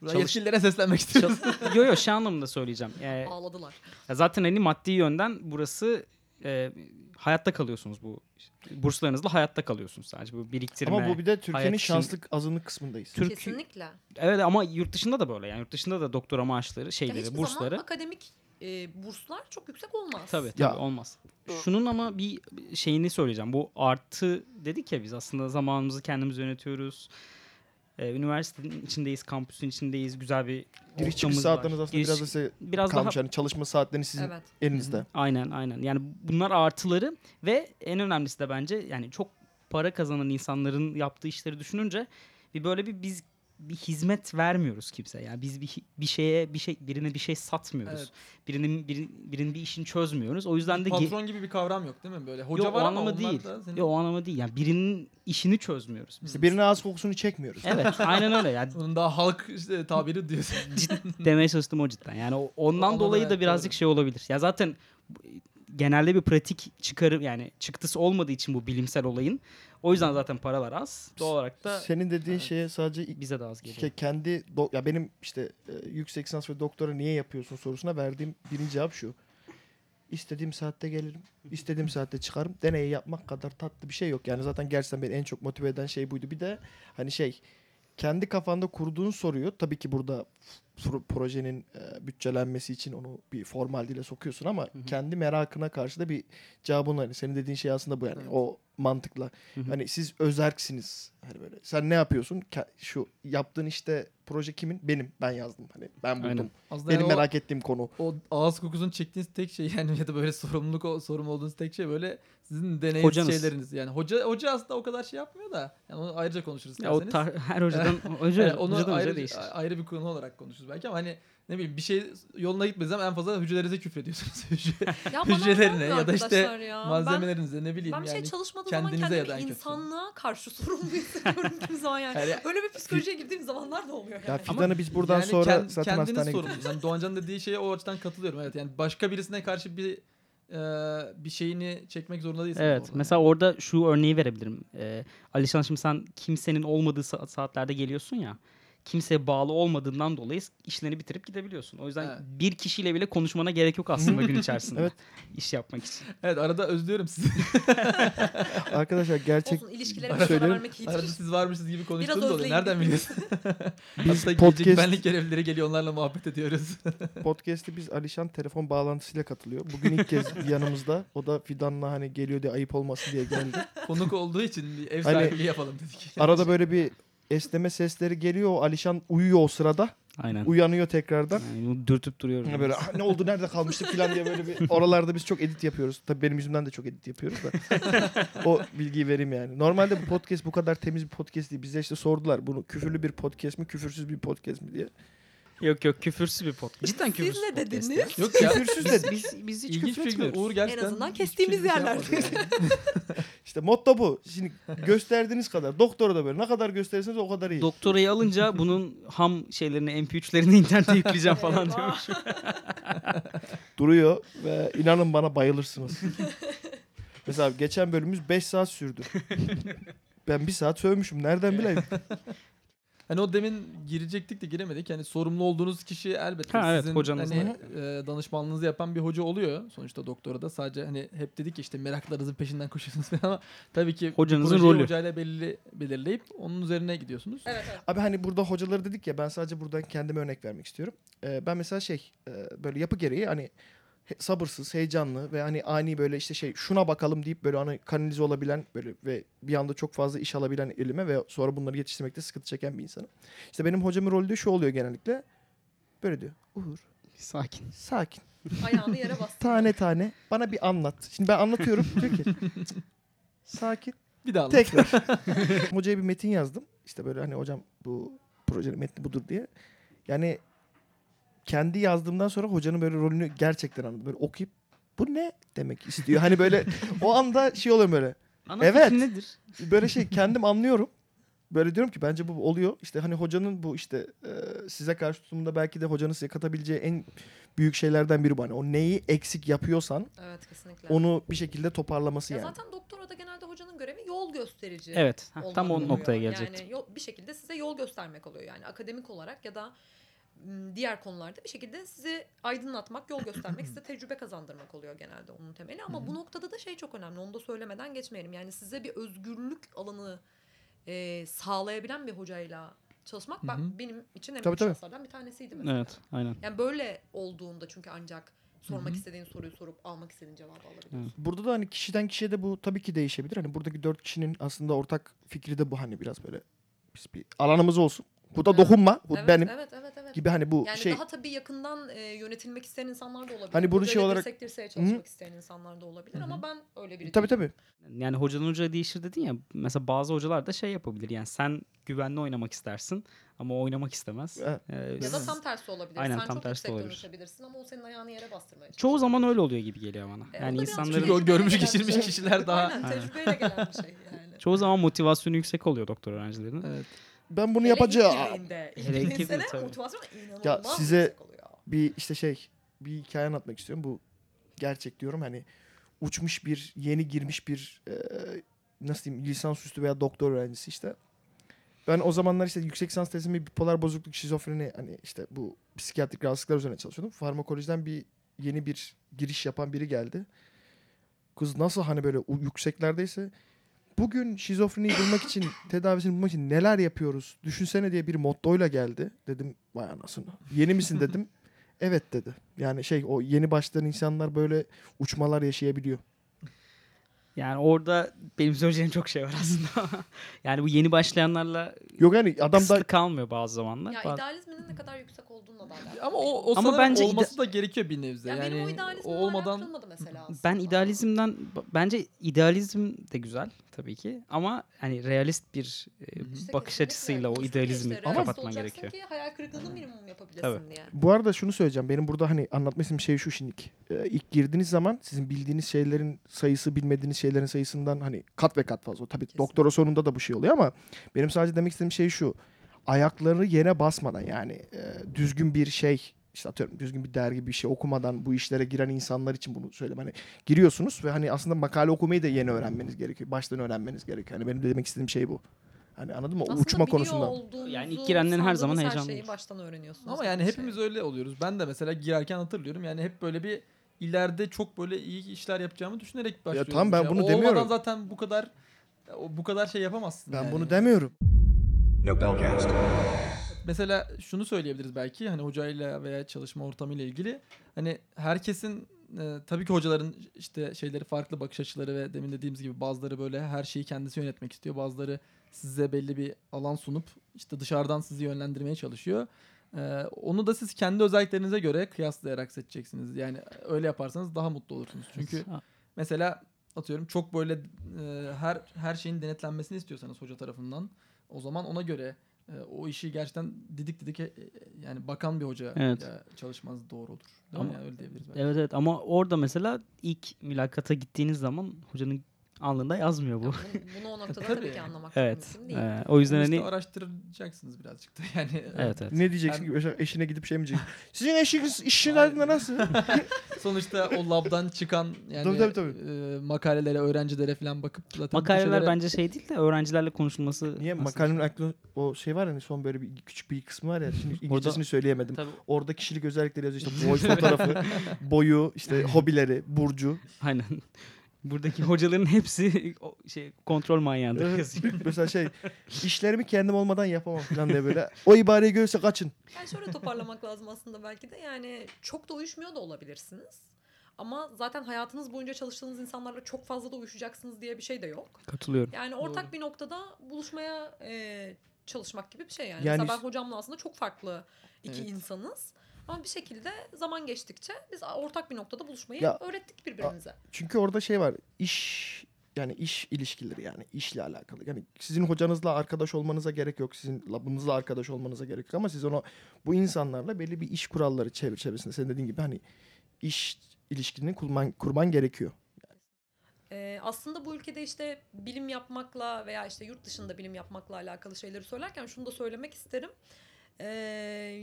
Buradan çalış- yetkililere seslenmek istiyorum. [LAUGHS] yo yo şey anlamında söyleyeceğim. E, Ee, Ağladılar. ya zaten hani maddi yönden burası e, hayatta kalıyorsunuz bu burslarınızla hayatta kalıyorsunuz sadece bu biriktirme. Ama bu bir de Türkiye'nin hayat için- şanslı azınlık kısmındayız. Türk- Kesinlikle. Ya Evet ama yurt dışında da böyle yani yurt dışında da doktora maaşları şeyleri hiçbir bursları. zaman akademik e, burslar çok yüksek olmaz. Tabii Ya. tabii olmaz. Şunun ama bir şeyini söyleyeceğim. Bu artı dedik ya biz aslında zamanımızı kendimiz yönetiyoruz. Ee, üniversitenin içindeyiz, kampüsün içindeyiz. Güzel bir Giriş çıkış ortamımız saatleriniz var. aslında Giriş- biraz da size biraz kalmış. daha Yani çalışma saatleriniz sizin Evet. elinizde. aynen aynen. Yani bunlar artıları ve en önemlisi de bence yani çok para kazanan insanların yaptığı işleri düşününce bir böyle bir biz bir hizmet vermiyoruz kimseye. Yani biz bir, hi- bir şeye bir şey birine bir şey satmıyoruz. Evet. Birinin birinin, birinin bir işini çözmüyoruz. O yüzden de ge- Patron gibi bir kavram yok değil mi? Böyle hoca Yo, var o ama anlamı onlar değil. da senin... Yo, o anlamı değil. Yani birinin işini çözmüyoruz biz. İşte birine ağız kokusunu çekmiyoruz. [LAUGHS] Evet, aynen öyle. Yani Onun daha halk işte tabiri diyorsun. demeye çalıştım o cidden. Yani o- ondan Ona da dolayı evet, da birazcık doğru. şey olabilir. Ya zaten bu- genelde bir pratik çıkarı yani çıktısı olmadığı için bu bilimsel olayın. O Hmm. yüzden zaten paralar az. Şey, Doğal olarak da Senin dediğin şeye sadece ilk- bize de az geliyor. ke- kendi do- ya benim işte e, yüksek lisans ve doktora niye yapıyorsun sorusuna verdiğim birinci cevap şu. İstediğim saatte gelirim, istediğim saatte çıkarım. Deneyi yapmak kadar tatlı bir şey yok. Yani zaten gerçekten beni en çok motive eden şey buydu. Bir de hani şey kendi kafanda kurduğun soruyu tabii ki burada pro- projenin e, bütçelenmesi için onu bir formal dile sokuyorsun ama kendi merakına karşı da bir cevabın var. Yani senin dediğin şey aslında bu yani o mantıkla. Hani siz özerksiniz. Hani böyle sen ne yapıyorsun? Ke- Şu yaptığın işte proje kimin? Benim. Ben yazdım. Hani ben buldum. Aynen. Aslında Benim yani o- merak ettiğim konu. o ağız kokusunu çektiğiniz tek şey yani ya da böyle sorumluluk o- sorumlu olduğunuz tek şey böyle sizin deneyim Hocanız. şeyleriniz. Yani hoca hoca aslında o kadar şey yapmıyor da yani onu ayrıca konuşuruz Ya o isterseniz. tar- [LAUGHS] [LAUGHS] her hocadan hoca, Yani onu hocadan hoca ayrı, değişir. ayrı bir konu olarak konuşuruz belki ama hani ne bileyim bir şey yoluna gitmediği zaman en fazla hücrelerinize küfrediyorsunuz. [LAUGHS] Hücre- Ya bana hücrelerine olmuyor ya da arkadaşlar işte ya. Ben- malzemelerinize ne bileyim Ben bir şey yani. çalışmadığım kendinize zaman kendimi ya da en kötüsü. insanlığa karşı sorumlu [LAUGHS] hissediyorum kimi zaman yani. Yani- Öyle bir psikolojiye girdiğim zamanlar da oluyor Ya yani. Fidan'ı biz buradan Yani sonra kend- zaten kendiniz hastaneye sorumlusunuz. Yani Doğancan'ın dediği şeye o açıdan katılıyorum. Evet yani başka birisine karşı bir e, bir şeyini çekmek zorunda değilsin. Evet. orada. Mesela orada şu örneği verebilirim. Ee, Alişan şimdi sen kimsenin olmadığı sa- saatlerde geliyorsun ya. Kimseye bağlı olmadığından dolayı işlerini bitirip gidebiliyorsun. O yüzden Evet. bir kişiyle bile konuşmana gerek yok [LAUGHS] aslında gün içerisinde. Evet. İş yapmak için. Evet arada özlüyorum sizi. [LAUGHS] Arkadaşlar gerçek Olsun ilişkilere Arada- bir ara vermek [LAUGHS] arada iyidir. siz varmışsınız gibi konuştuğunuz özleyin. oluyor. Nereden biliyorsun? biz Hatta gece podcast, güvenlik görevlileri geliyor onlarla muhabbet ediyoruz. [LAUGHS] podcast'i biz Alişan telefon bağlantısıyla katılıyor. Bugün ilk [LAUGHS] kez yanımızda. O da Fidan'la hani geliyor diye ayıp olmasın diye geldi. Konuk olduğu için bir ev Hani- sahibi yapalım [LAUGHS] dedik. Arada böyle bir esneme sesleri geliyor. O Alişan uyuyor o sırada. Aynen. Uyanıyor tekrardan. Yani bunu dürtüp duruyoruz. Hani böyle "Ah, ne oldu nerede kalmıştık falan diye böyle bir oralarda biz çok edit yapıyoruz. Tabii benim yüzümden de çok edit yapıyoruz da. o bilgiyi vereyim yani. Normalde bu podcast bu kadar temiz bir podcast değil. Bize işte sordular bunu küfürlü bir podcast mi küfürsüz bir podcast mi diye. Yok yok küfürsüz bir podcast. Cidden küfürsüz Siz ne bir podcast dediniz? ya. Yok [LAUGHS] ya. Küfürsüz Biz, dedi. biz, biz hiç İlginç küfür bir şekilde Uğur etmiyoruz. gerçekten azından hiçbir kestiğimiz şey yapmadı yerlerde. yani. İşte motto bu. Şimdi gösterdiğiniz kadar. Doktora da böyle. Ne kadar gösterirseniz o kadar iyi. Doktorayı alınca bunun ham şeylerini MP3'lerini internete [LAUGHS] yükleyeceğim falan Eyvah. diyormuş. Duruyor ve inanın bana bayılırsınız. Mesela geçen bölümümüz 5 saat sürdü. ben 1 saat sövmüşüm. Nereden bileyim? Hani o demin girecektik de giremedik. Hani sorumlu olduğunuz kişi elbette Ha, evet, sizin hocanız hani, e, danışmanlığınızı yapan bir hoca oluyor. Sonuçta doktora da sadece hani hep dedik ya işte meraklarınızın peşinden koşuyorsunuz [LAUGHS] falan ama tabii ki Hocanızın projeyi rolü. hocayla belli, belirleyip onun üzerine gidiyorsunuz. Abi hani burada hocaları dedik ya ben sadece buradan kendime örnek vermek istiyorum. Ee, ben mesela şey e, böyle yapı gereği hani he- sabırsız, heyecanlı ve hani ani böyle işte şey şuna bakalım deyip böyle hani kanalize olabilen böyle ve bir anda çok fazla iş alabilen elime ve sonra bunları yetiştirmekte sıkıntı çeken bir insanım. İşte benim hocamın rolü de şu oluyor genellikle. Böyle diyor. Uğur Sakin. sakin Ayağını yere bastı. tane tane bana bir anlat. Şimdi ben anlatıyorum diyor ki "Cık, sakin Bir daha anlat. Tekrar. [LAUGHS] Hocaya bir metin yazdım. İşte böyle hani hocam bu projenin metni budur diye. Yani kendi yazdığımdan sonra hocanın böyle rolünü gerçekten anladım. Böyle okuyup bu ne demek istiyor. Hani böyle o anda şey oluyor böyle. Ana Evet. fikri nedir? Böyle şey kendim anlıyorum. Böyle diyorum ki bence bu oluyor. İşte hani hocanın bu işte e, size karşı tutumunda belki de hocanın size katabileceği en büyük şeylerden biri bu. Hani o neyi eksik yapıyorsan Evet kesinlikle. onu bir şekilde toparlaması Ya yani. zaten doktorada genelde hocanın görevi yol gösterici. Evet. ha, tam olmak o oluyor. noktaya gelecektim. Yani yol- bir şekilde size yol göstermek oluyor yani akademik olarak ya da m, diğer konularda bir şekilde sizi aydınlatmak, yol göstermek, size tecrübe kazandırmak oluyor genelde onun temeli. Ama bu noktada da şey çok önemli. Onu da söylemeden geçmeyelim. Yani size bir özgürlük alanı e, sağlayabilen bir hocayla çalışmak ben- Hı hı. benim için en Tabii, büyük tabii. şanslardan bir tanesiydi mesela. Evet. Aynen. Yani böyle olduğunda çünkü ancak sormak Hı hı. istediğin soruyu sorup almak istediğin cevabı alabiliyorsun. Evet. Burada da hani kişiden kişiye de bu tabii ki değişebilir. Hani buradaki dört kişinin aslında ortak fikri de bu hani biraz böyle biz bir alanımız olsun. Bu da Evet. dokunma. Bu Evet, benim evet, evet, evet. gibi hani bu Yani şey daha tabii yakından e, yönetilmek isteyen insanlar da olabilir. Hani bunu Hocayla şey olarak- dirsek dirseğe çalışmak isteyen insanlar da olabilir ama ben öyle biri E, tabii değilim. tabii. Yani hocadan hocaya değişir dedin ya. Mesela bazı hocalar da şey yapabilir. Yani sen güvenli oynamak istersin ama o oynamak istemez. Evet. Ee, Ya da siz- tam tersi olabilir. Aynen, Sen tam çok tersi yüksek olabilir. dönüşebilirsin ama o senin ayağını yere bastırmaya çalışır. Çoğu zaman öyle oluyor gibi geliyor bana. E, o yani da biraz insanların Çünkü o Tecrübeyle [LAUGHS] görmüş gelen bir geçirmiş şey. kişiler daha... Aynen tecrübeyle gelen bir şey [LAUGHS] yani. çoğu zaman motivasyonu yüksek oluyor doktor öğrencilerinin. Evet. Ben bunu Hele ilk yapacağım. girdiğinde, Hele ilk ilk girdiğin girdiğinde sene tabii. motivasyon inanılmaz Ya size- yüksek oluyor. Bir işte şey bir hikaye anlatmak istiyorum. Bu gerçek diyorum hani uçmuş bir yeni girmiş bir e, nasıl diyeyim lisansüstü veya doktor öğrencisi işte. Ben o zamanlar işte yüksek lisans tezimi bipolar bozukluk şizofreni hani işte bu psikiyatrik rahatsızlıklar üzerine çalışıyordum. Farmakolojiden bir yeni bir giriş yapan biri geldi. Kız nasıl hani böyle u- yükseklerdeyse bugün şizofreniyi bulmak için tedavisini bulmak için neler yapıyoruz düşünsene diye bir mottoyla geldi. Dedim vay anasını yeni misin dedim. Evet dedi. Yani şey o yeni başlayan insanlar böyle uçmalar yaşayabiliyor. Yani orada benim söyleyeceğim çok şey var aslında. [LAUGHS] yani bu yeni başlayanlarla Yok yani adam da kısıtlı kalmıyor bazı zamanlar. Ya Bazı- idealizminin ne kadar yüksek olduğunla da alakalı. Ama o, o Ama sanırım bence ide- olması da gerekiyor bir nebze. yani, Yani, benim o o idealizmim olmadan... olmadan kırılmadı mesela aslında. Ben idealizmden b- bence idealizm de güzel tabii ki ama hani realist bir e, İşte bakış kesinlikle. açısıyla o Kesinlikle idealizmi işte realist kapatman olacaksın gerekiyor. ki hayal kırıklığını minimum yapabilesin Tabii. diye. Bu arada şunu söyleyeceğim. Benim burada hani anlatmak istediğim şey şu şimdi. Ee, ilk girdiğiniz zaman sizin bildiğiniz şeylerin sayısı bilmediğiniz şeylerin sayısından hani kat ve kat fazla. Tabii Kesin. doktora sonunda da bu şey oluyor ama benim sadece demek istediğim şey şu. Ayakları yere basmadan yani e, düzgün bir şey işte atıyorum düzgün bir dergi bir şey okumadan bu işlere giren insanlar için bunu söyleyeyim. Hani giriyorsunuz ve hani aslında makale okumayı da yeni öğrenmeniz gerekiyor. Baştan öğrenmeniz gerekiyor. Hani benim de demek istediğim şey bu. Hani anladın mı? O Uçma konusunda. Yani ilk girenlerin her zaman heyecanlı. Her heyecanlıyız. şeyi baştan öğreniyorsunuz. Ama gibi yani bir şey. hepimiz öyle oluyoruz. Ben de mesela girerken hatırlıyorum. Yani hep böyle bir ileride çok böyle iyi işler yapacağımı düşünerek başlıyorum. tamam, ben işe. bunu O Olmadan demiyorum. zaten bu kadar o- bu kadar şey yapamazsın. Ben yani. bunu demiyorum. Mesela şunu söyleyebiliriz belki hani hocayla veya çalışma ortamıyla ilgili. Hani herkesin e, tabii ki hocaların işte şeyleri farklı bakış açıları ve demin dediğimiz gibi bazıları böyle her şeyi kendisi yönetmek istiyor. Bazıları size belli bir alan sunup işte dışarıdan sizi yönlendirmeye çalışıyor. E, onu da siz kendi özelliklerinize göre kıyaslayarak seçeceksiniz. Yani öyle yaparsanız daha mutlu olursunuz. Çünkü mesela atıyorum çok böyle e, her her şeyin denetlenmesini istiyorsanız hoca tarafından o zaman ona göre e, o işi gerçekten didik didik e, e, yani bakan bir hoca Evet. çalışmanız doğru olur. Değil mi? Ama- Yani öyle diyebiliriz belki. Evet evet ama orada mesela ilk mülakata gittiğiniz zaman hocanın alnında yazmıyor bu. şey. Bunu, bunu [LAUGHS] o noktada Tabii. tabii ki anlamak Evet. mümkün değil. Ee, o yüzden Bunu işte hani araştıracaksınız birazcık da [LAUGHS] yani. evet evet. Ne diyeceksin ki Eşe- eşine gidip şey mi diyeceksin? [LAUGHS] Sizin eşiniz işin adına nasıl? Sonuçta o labdan çıkan yani Tabii, tabii, tabii. e, makalelere, öğrencilere falan bakıp zaten bu Makaleler şeylere- bence şey değil de öğrencilerle konuşulması. Niye aslında- makalenin aklına o şey var hani son böyle bir küçük bir kısmı var ya [LAUGHS] şimdi İngilizcesini söyleyemedim. Tabii. Orada kişilik özellikleri yazıyor işte [LAUGHS] boy fotoğrafı, boyu, [LAUGHS] işte hobileri, burcu. Aynen. [LAUGHS] Buradaki hocaların hepsi [LAUGHS] o şey kontrol [LAUGHS] manyağıdır. yazıyor. Mesela şey işlerimi kendim olmadan yapamam falan diye böyle. O ibareyi görürse kaçın. Yani şöyle toparlamak lazım aslında belki de yani çok da uyuşmuyor da olabilirsiniz. Ama zaten hayatınız boyunca çalıştığınız insanlarla çok fazla da uyuşacaksınız diye bir şey de yok. Katılıyorum. Yani ortak bir noktada buluşmaya e, çalışmak gibi bir şey yani. Yani- Mesela ben hocamla aslında çok farklı iki Evet. insanız. Ama bir şekilde zaman geçtikçe biz ortak bir noktada buluşmayı Ya- öğrettik birbirimize. Çünkü orada şey var iş yani iş ilişkileri yani işle alakalı. Yani sizin hocanızla arkadaş olmanıza gerek yok. Sizin labınızla arkadaş olmanıza gerek yok. Ama siz ona bu insanlarla belli bir iş kuralları çevir çevresinde. Senin dediğin gibi hani iş ilişkini kurman, kurman gerekiyor. Ee, aslında bu ülkede işte bilim yapmakla veya işte yurt dışında bilim yapmakla alakalı şeyleri söylerken şunu da söylemek isterim. Ee,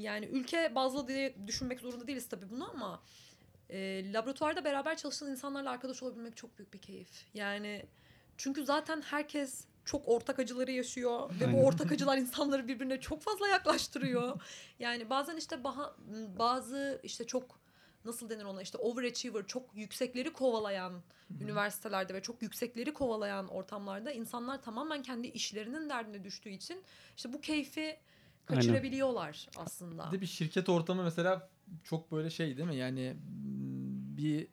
yani ülke bazlı diye düşünmek zorunda değiliz tabii bunu ama e, laboratuvarda beraber çalışan insanlarla arkadaş olabilmek çok büyük bir keyif. Yani çünkü zaten herkes çok ortak acıları yaşıyor ve bu ortak acılar insanları birbirine çok fazla yaklaştırıyor. Yani bazen işte baha- bazı işte çok nasıl denir ona işte overachiever çok yüksekleri kovalayan üniversitelerde ve çok yüksekleri kovalayan ortamlarda insanlar tamamen kendi işlerinin derdine düştüğü için işte bu keyfi Aynen. kaçırabiliyorlar aslında. Bir de bir şirket ortamı mesela çok böyle şey değil mi? Yani mm, bir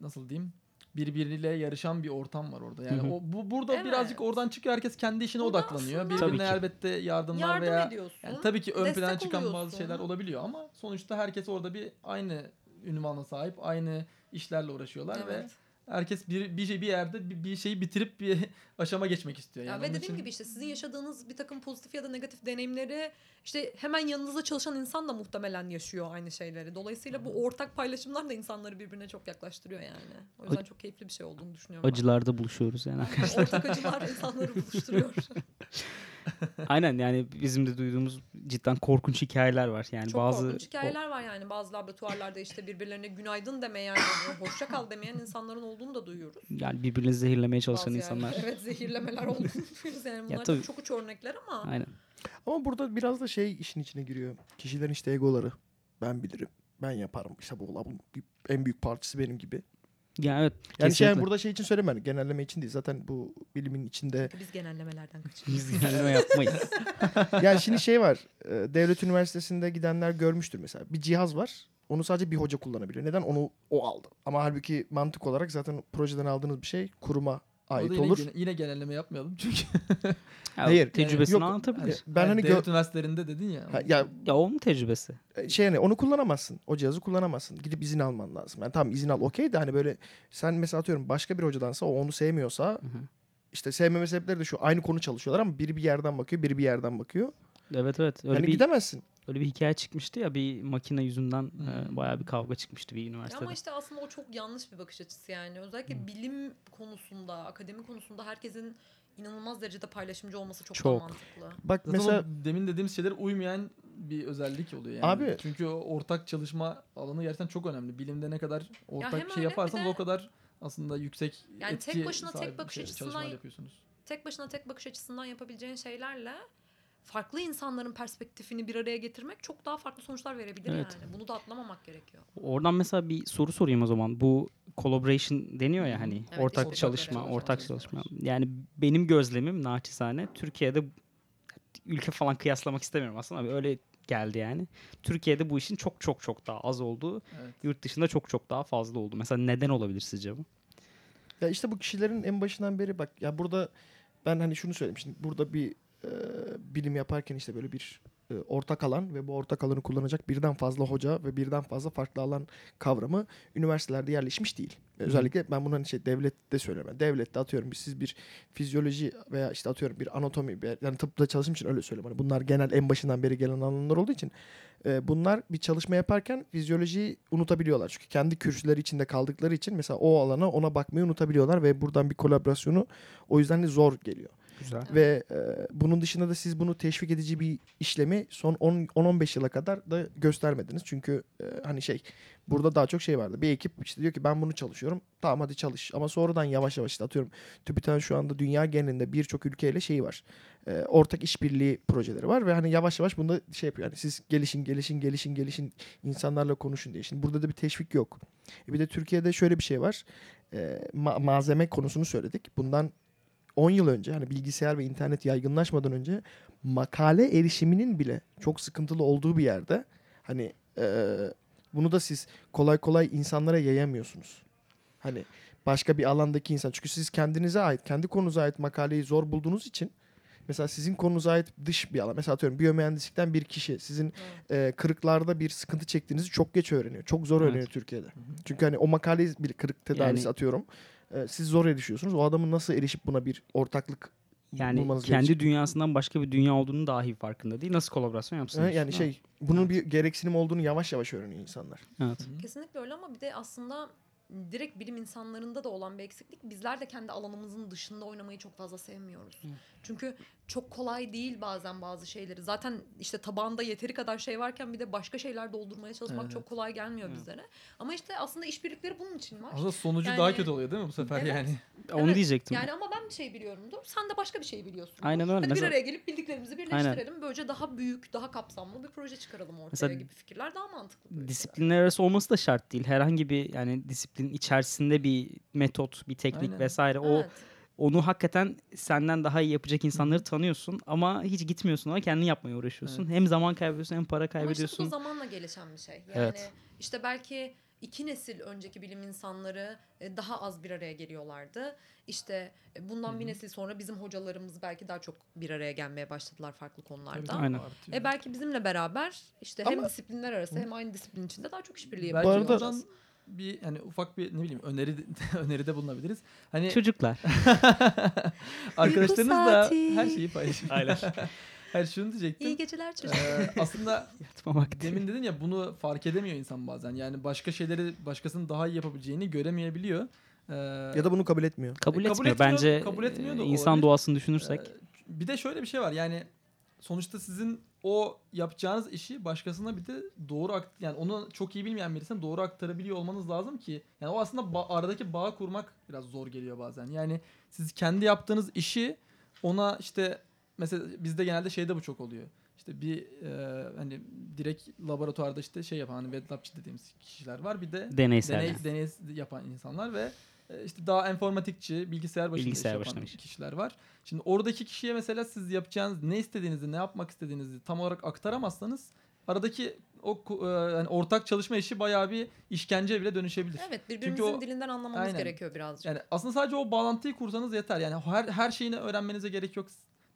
nasıl diyeyim? birbiriyle yarışan bir ortam var orada. Yani Hı hı. o bu burada Evet. birazcık oradan çıkıyor. Herkes kendi işine Burada odaklanıyor. aslında- Birbirine Tabii ki. elbette yardımlar Yardım veya ediyorsun. yani tabii ki ön plana destek çıkan bazı oluyorsun. şeyler olabiliyor ama sonuçta herkes orada bir aynı ünvana sahip, aynı işlerle uğraşıyorlar ve Evet. herkes bir bir şey bir yerde bir, bir şeyi bitirip bir [LAUGHS] aşama geçmek istiyor. Ya Yani ve onun dediğim için- gibi işte sizin yaşadığınız bir takım pozitif ya da negatif deneyimleri işte hemen yanınızda çalışan insan da muhtemelen yaşıyor aynı şeyleri. Dolayısıyla bu ortak paylaşımlar da insanları birbirine çok yaklaştırıyor yani. O yüzden çok keyifli bir şey olduğunu düşünüyorum. ben. Acılarda buluşuyoruz yani. [LAUGHS] Ortak acılar insanları buluşturuyor. [LAUGHS] Aynen yani bizim de duyduğumuz cidden korkunç hikayeler var. Yani Çok bazı korkunç hikayeler var yani. Bazı laboratuvarlarda işte birbirlerine günaydın demeyen, hoşça kal demeyen insanların olduğunu da duyuyoruz. o- yani birbirini zehirlemeye Bazı çalışan yerlerde. insanlar. [LAUGHS] Evet zehirlemeler olduğunu duyuyoruz yani. Bunlar tabii. çok uç örnekler ama Aynen. Ama burada biraz da şey işin içine giriyor. Kişilerin işte egoları. Ben bilirim. Ben yaparım. İşte bu labın bir- en büyük parçası benim gibi. Yani evet. Yani şey, kesinlikle. yani [LAUGHS] burada şey için söylemedim. Genelleme için değil. Zaten bu bilimin içinde. biz genellemelerden kaçıyoruz. Biz genelleme yapmayız. Yani şimdi şey var. e, Devlet üniversitesinde gidenler görmüştür mesela. Bir cihaz var. Onu sadece bir hoca kullanabilir. Neden? Onu o aldı. Ama halbuki mantık olarak zaten projeden aldığınız bir şey kuruma O da ait yine, olur. gene- yine genelleme yapmayalım çünkü. Ya, Hayır, Tecrübesini yok. anlatabilir. Ben hani devlet gö- üniversitelerinde dedin ya. Ha, ya Ya onun tecrübesi. E, şey hani onu kullanamazsın. O cihazı kullanamazsın. Gidip izin alman lazım. Yani tamam izin al okey de hani böyle sen mesela atıyorum başka bir hocadansa o onu sevmiyorsa işte sevmeme sebepleri de şu aynı konu çalışıyorlar ama biri bir yerden bakıyor biri bir yerden bakıyor. Evet evet. Öyle yani bir gidemezsin. öyle bir hikaye çıkmıştı ya bir makine yüzünden e, bayağı bir kavga çıkmıştı bir Ya üniversitede. Ama işte aslında o çok yanlış bir bakış açısı yani. Özellikle bilim konusunda, akademi konusunda herkesin inanılmaz derecede paylaşımcı olması çok, Çok. da mantıklı. Bak Zaten mesela o demin dediğimiz şeyler uymayan bir özellik oluyor yani. Abi- Çünkü o ortak çalışma alanı gerçekten çok önemli. Bilimde ne kadar ortak hem bir öyle bir şey yaparsanız de- o kadar aslında yüksek Yani tek etki başına tek sahibi bakış şey- açısından- çalışmalar yapıyorsunuz. tek başına tek bakış açısından yapabileceğin şeylerle farklı insanların perspektifini bir araya getirmek çok daha farklı sonuçlar verebilir Evet. yani. Bunu da atlamamak gerekiyor. Oradan mesela bir soru sorayım o zaman. Bu collaboration deniyor ya hani Evet, ortak işte çalışma, ortak ortak çalışma. çalışma. Yani benim gözlemim naçizane Türkiye'de ülke falan kıyaslamak istemiyorum aslında ama öyle geldi yani. Türkiye'de bu işin çok çok çok daha az olduğu, Evet. yurt dışında çok çok daha fazla oldu. Mesela neden olabilir sizce bu? Ya işte bu kişilerin en başından beri bak ya burada ben hani şunu söyleyeyim şimdi burada bir e, bilim yaparken işte böyle bir e, ortak alan ve bu ortak alanı kullanacak birden fazla hoca ve birden fazla farklı alan kavramı üniversitelerde yerleşmiş değil. Özellikle ben bunu hani şey devlette söylüyorum. Yani devlette atıyorum bir- siz bir fizyoloji veya işte atıyorum bir anatomi bir- yani tıpta çalıştığım için öyle söylüyorum. Hani bunlar genel en başından beri gelen alanlar olduğu için e, bunlar bir çalışma yaparken fizyolojiyi unutabiliyorlar. Çünkü kendi kürsüleri içinde kaldıkları için mesela o alana ona bakmayı unutabiliyorlar ve buradan bir kolaborasyonu o yüzden de zor geliyor. Güzel. Ve e, bunun dışında da siz bunu teşvik edici bir işlemi son 10 10-15 yıla kadar da göstermediniz. Çünkü e, hani şey burada daha çok şey vardı. Bir ekip işte diyor ki ben bunu çalışıyorum. Tamam hadi çalış. Ama sonradan yavaş yavaş işte atıyorum TÜBİTAK'ın şu anda dünya genelinde birçok ülkeyle şeyi var. E, ortak işbirliği projeleri var ve hani yavaş yavaş bunda şey yapıyor. Yani siz gelişin gelişin gelişin gelişin insanlarla konuşun diye. Şimdi burada da bir teşvik yok. E, bir de Türkiye'de şöyle bir şey var. E, ma- malzeme konusunu söyledik. Bundan 10 yıl önce hani bilgisayar ve internet yaygınlaşmadan önce makale erişiminin bile çok sıkıntılı olduğu bir yerde hani e, bunu da siz kolay kolay insanlara yayamıyorsunuz. Hani başka bir alandaki insan çünkü siz kendinize ait, kendi konunuza ait makaleyi zor bulduğunuz için mesela sizin konunuza ait dış bir alan mesela atıyorum biyomühendislikten bir kişi sizin e, kırıklarda bir sıkıntı çektiğinizi çok geç öğreniyor. Çok zor Evet. öğreniyor Türkiye'de. Çünkü hani o makaleyi bir kırık tedavisi Yani- atıyorum. Ee, siz zor erişiyorsunuz. O adamın nasıl erişip buna bir ortaklık Yani bulmanız kendi gerekecek? dünyasından başka bir dünya olduğunu dahi farkında değil. Nasıl kolaborasyon Ha, yapsınız? yani şey bunun bir gereksinim olduğunu yavaş yavaş öğreniyor insanlar. Evet. Kesinlikle öyle ama bir de aslında direkt bilim insanlarında da olan bir eksiklik. Bizler de kendi alanımızın dışında oynamayı çok fazla sevmiyoruz. Çünkü çok kolay değil bazen bazı şeyleri. Zaten işte tabanda yeteri kadar şey varken bir de başka şeyler doldurmaya çalışmak Evet. çok kolay gelmiyor bizlere. Ama işte aslında işbirlikleri bunun için var. Aslında sonucu Yani- daha kötü oluyor değil mi bu sefer Evet. yani? Onu Evet, diyecektim. Yani ama ben bir şey biliyorumdur. Sen de başka bir şey biliyorsun. Aynen öyle. Hadi Mesela- bir araya gelip bildiklerimizi birleştirelim. Böylece daha büyük, daha kapsamlı bir proje çıkaralım ortaya Mesela- gibi fikirler daha mantıklı. böyle şeyler. disiplinler arası olması da şart değil. Herhangi bir yani disiplin içerisinde bir metot, bir teknik Aynen. vesaire o Evet. onu hakikaten senden daha iyi yapacak insanları tanıyorsun ama hiç gitmiyorsun ona kendin yapmaya uğraşıyorsun. Hem zaman kaybediyorsun hem para Ama işte bu da kaybediyorsun. zamanla gelişen bir şey. Yani Evet. işte belki iki nesil önceki bilim insanları e, daha az bir araya geliyorlardı. İşte e, bundan bir nesil sonra bizim hocalarımız belki daha çok bir araya gelmeye başladılar farklı konularda. Aynen. Artıyor. E belki bizimle beraber işte hem Ama- disiplinler arası hem aynı disiplin içinde daha çok işbirliği Belki yapıyor arada- olacağız. oradan bir hani ufak bir ne bileyim öneri [LAUGHS] öneride bulunabiliriz. Hani [LAUGHS] Çocuklar. [LAUGHS] [LAUGHS] arkadaşlarınız da saati. her şeyi paylaşın. Aynen. [LAUGHS] Hayır şunu diyecektim. İyi geceler çocuklar. Ee, aslında Yatma vakti. demin E, dedin ya bunu fark edemiyor insan bazen. Yani başka şeyleri başkasının daha iyi yapabileceğini göremeyebiliyor. Ee, Ya da bunu kabul etmiyor. kabul, E, kabul etmiyor. etmiyor- Bence kabul etmiyor da e, insan olabilir. doğasını düşünürsek. Ee, bir de şöyle bir şey var yani sonuçta sizin o yapacağınız işi başkasına bir de doğru akt yani onu çok iyi bilmeyen birisine doğru aktarabiliyor olmanız lazım ki yani o aslında ba- aradaki bağ kurmak biraz zor geliyor bazen. Yani siz kendi yaptığınız işi ona işte mesela bizde genelde şeyde bu çok oluyor. İşte bir e, hani direkt laboratuvarda işte şey yapan hani wet labçı dediğimiz kişiler var. Bir de deneysel. deney, yani. deney yapan insanlar ve e, işte daha informatikçi, bilgisayar başında Bilgisayar iş başında yapan iş. kişiler var. Şimdi oradaki kişiye mesela siz yapacağınız ne istediğinizi, ne yapmak istediğinizi tam olarak aktaramazsanız aradaki o ku- e, yani ortak çalışma işi bayağı bir işkenceye bile dönüşebilir. Evet Çünkü birbirimizin o- dilinden anlamamız Aynen. gerekiyor birazcık. Yani aslında sadece o bağlantıyı kursanız yeter. Yani her her şeyini öğrenmenize gerek yok.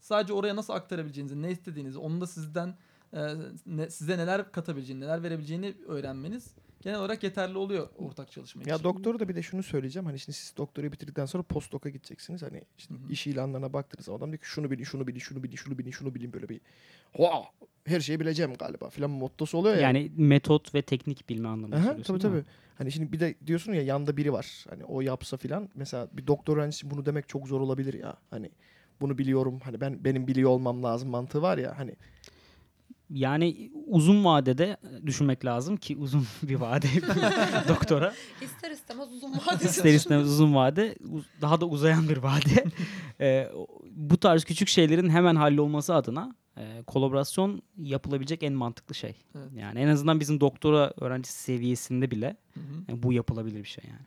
Sadece oraya nasıl aktarabileceğinizi, ne istediğinizi, onun da sizden e, ne- size neler katabileceğini, neler verebileceğini öğrenmeniz genel olarak yeterli oluyor ortak çalışma için. Ya doktoru da bir de şunu söyleyeceğim. Hani şimdi siz doktorayı bitirdikten sonra postdoc'a gideceksiniz. Hani işte Hı hı. iş ilanlarına baktınız. Adam diyor ki şunu bilin, şunu bilin, şunu bilin, şunu bilin, şunu bilin böyle bir. Hoa! Her şeyi bileceğim galiba filan mottosu oluyor ya. Yani metot ve teknik bilme anlamında Aha, söylüyorsun tabii değil mi? tabii. Hani şimdi bir de diyorsun ya yanda biri var. Hani o yapsa filan. Mesela bir doktor öğrencisi için bunu demek çok zor olabilir ya. Hani bunu biliyorum. Hani ben benim biliyor olmam lazım mantığı var ya. Hani Yani uzun vadede e, düşünmek lazım ki uzun [LAUGHS] bir [LAUGHS] vade bir doktora. İster istemez uzun vadeli. İster istemez uzun vade, uz- daha da uzayan bir vade. Ee, o- bu tarz küçük şeylerin hemen hallolması adına e, kolaborasyon yapılabilecek en mantıklı şey. Evet. Yani en azından bizim doktora öğrencisi seviyesinde bile Hı hı. e, bu yapılabilir bir şey yani.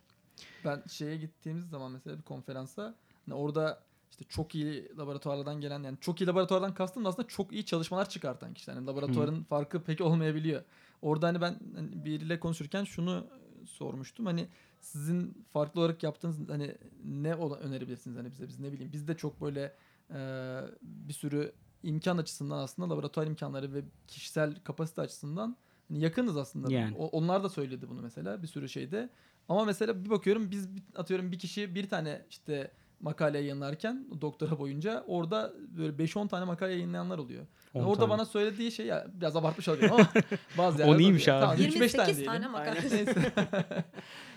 Ben şeye gittiğimiz zaman mesela bir konferansa hani orada işte çok iyi laboratuvarlardan gelen yani çok iyi laboratuvardan kastım da aslında çok iyi çalışmalar çıkartan kişiler. Yani laboratuvarın farkı pek olmayabiliyor. Orada hani ben hani biriyle konuşurken şunu e, sormuştum. Hani sizin farklı olarak yaptığınız hani ne ola- önerebilirsiniz hani bize biz ne bileyim biz de çok böyle e, bir sürü imkan açısından aslında laboratuvar imkanları ve kişisel kapasite açısından hani yakınız aslında. Yani. O- onlar da söyledi bunu mesela bir sürü şeyde. Ama mesela bir bakıyorum biz bir- atıyorum bir kişi bir tane işte makale yayınlarken doktora boyunca orada böyle 5-10 tane makale yayınlayanlar oluyor. Yani 10 orada tane. bana söylediği şey ya biraz abartmış olabilirim [LAUGHS] ama bazı yerler iyiymiş abi. Tamam, 3-5 tane 28 diyelim. tane makale. Aynen. [LAUGHS] Neyse.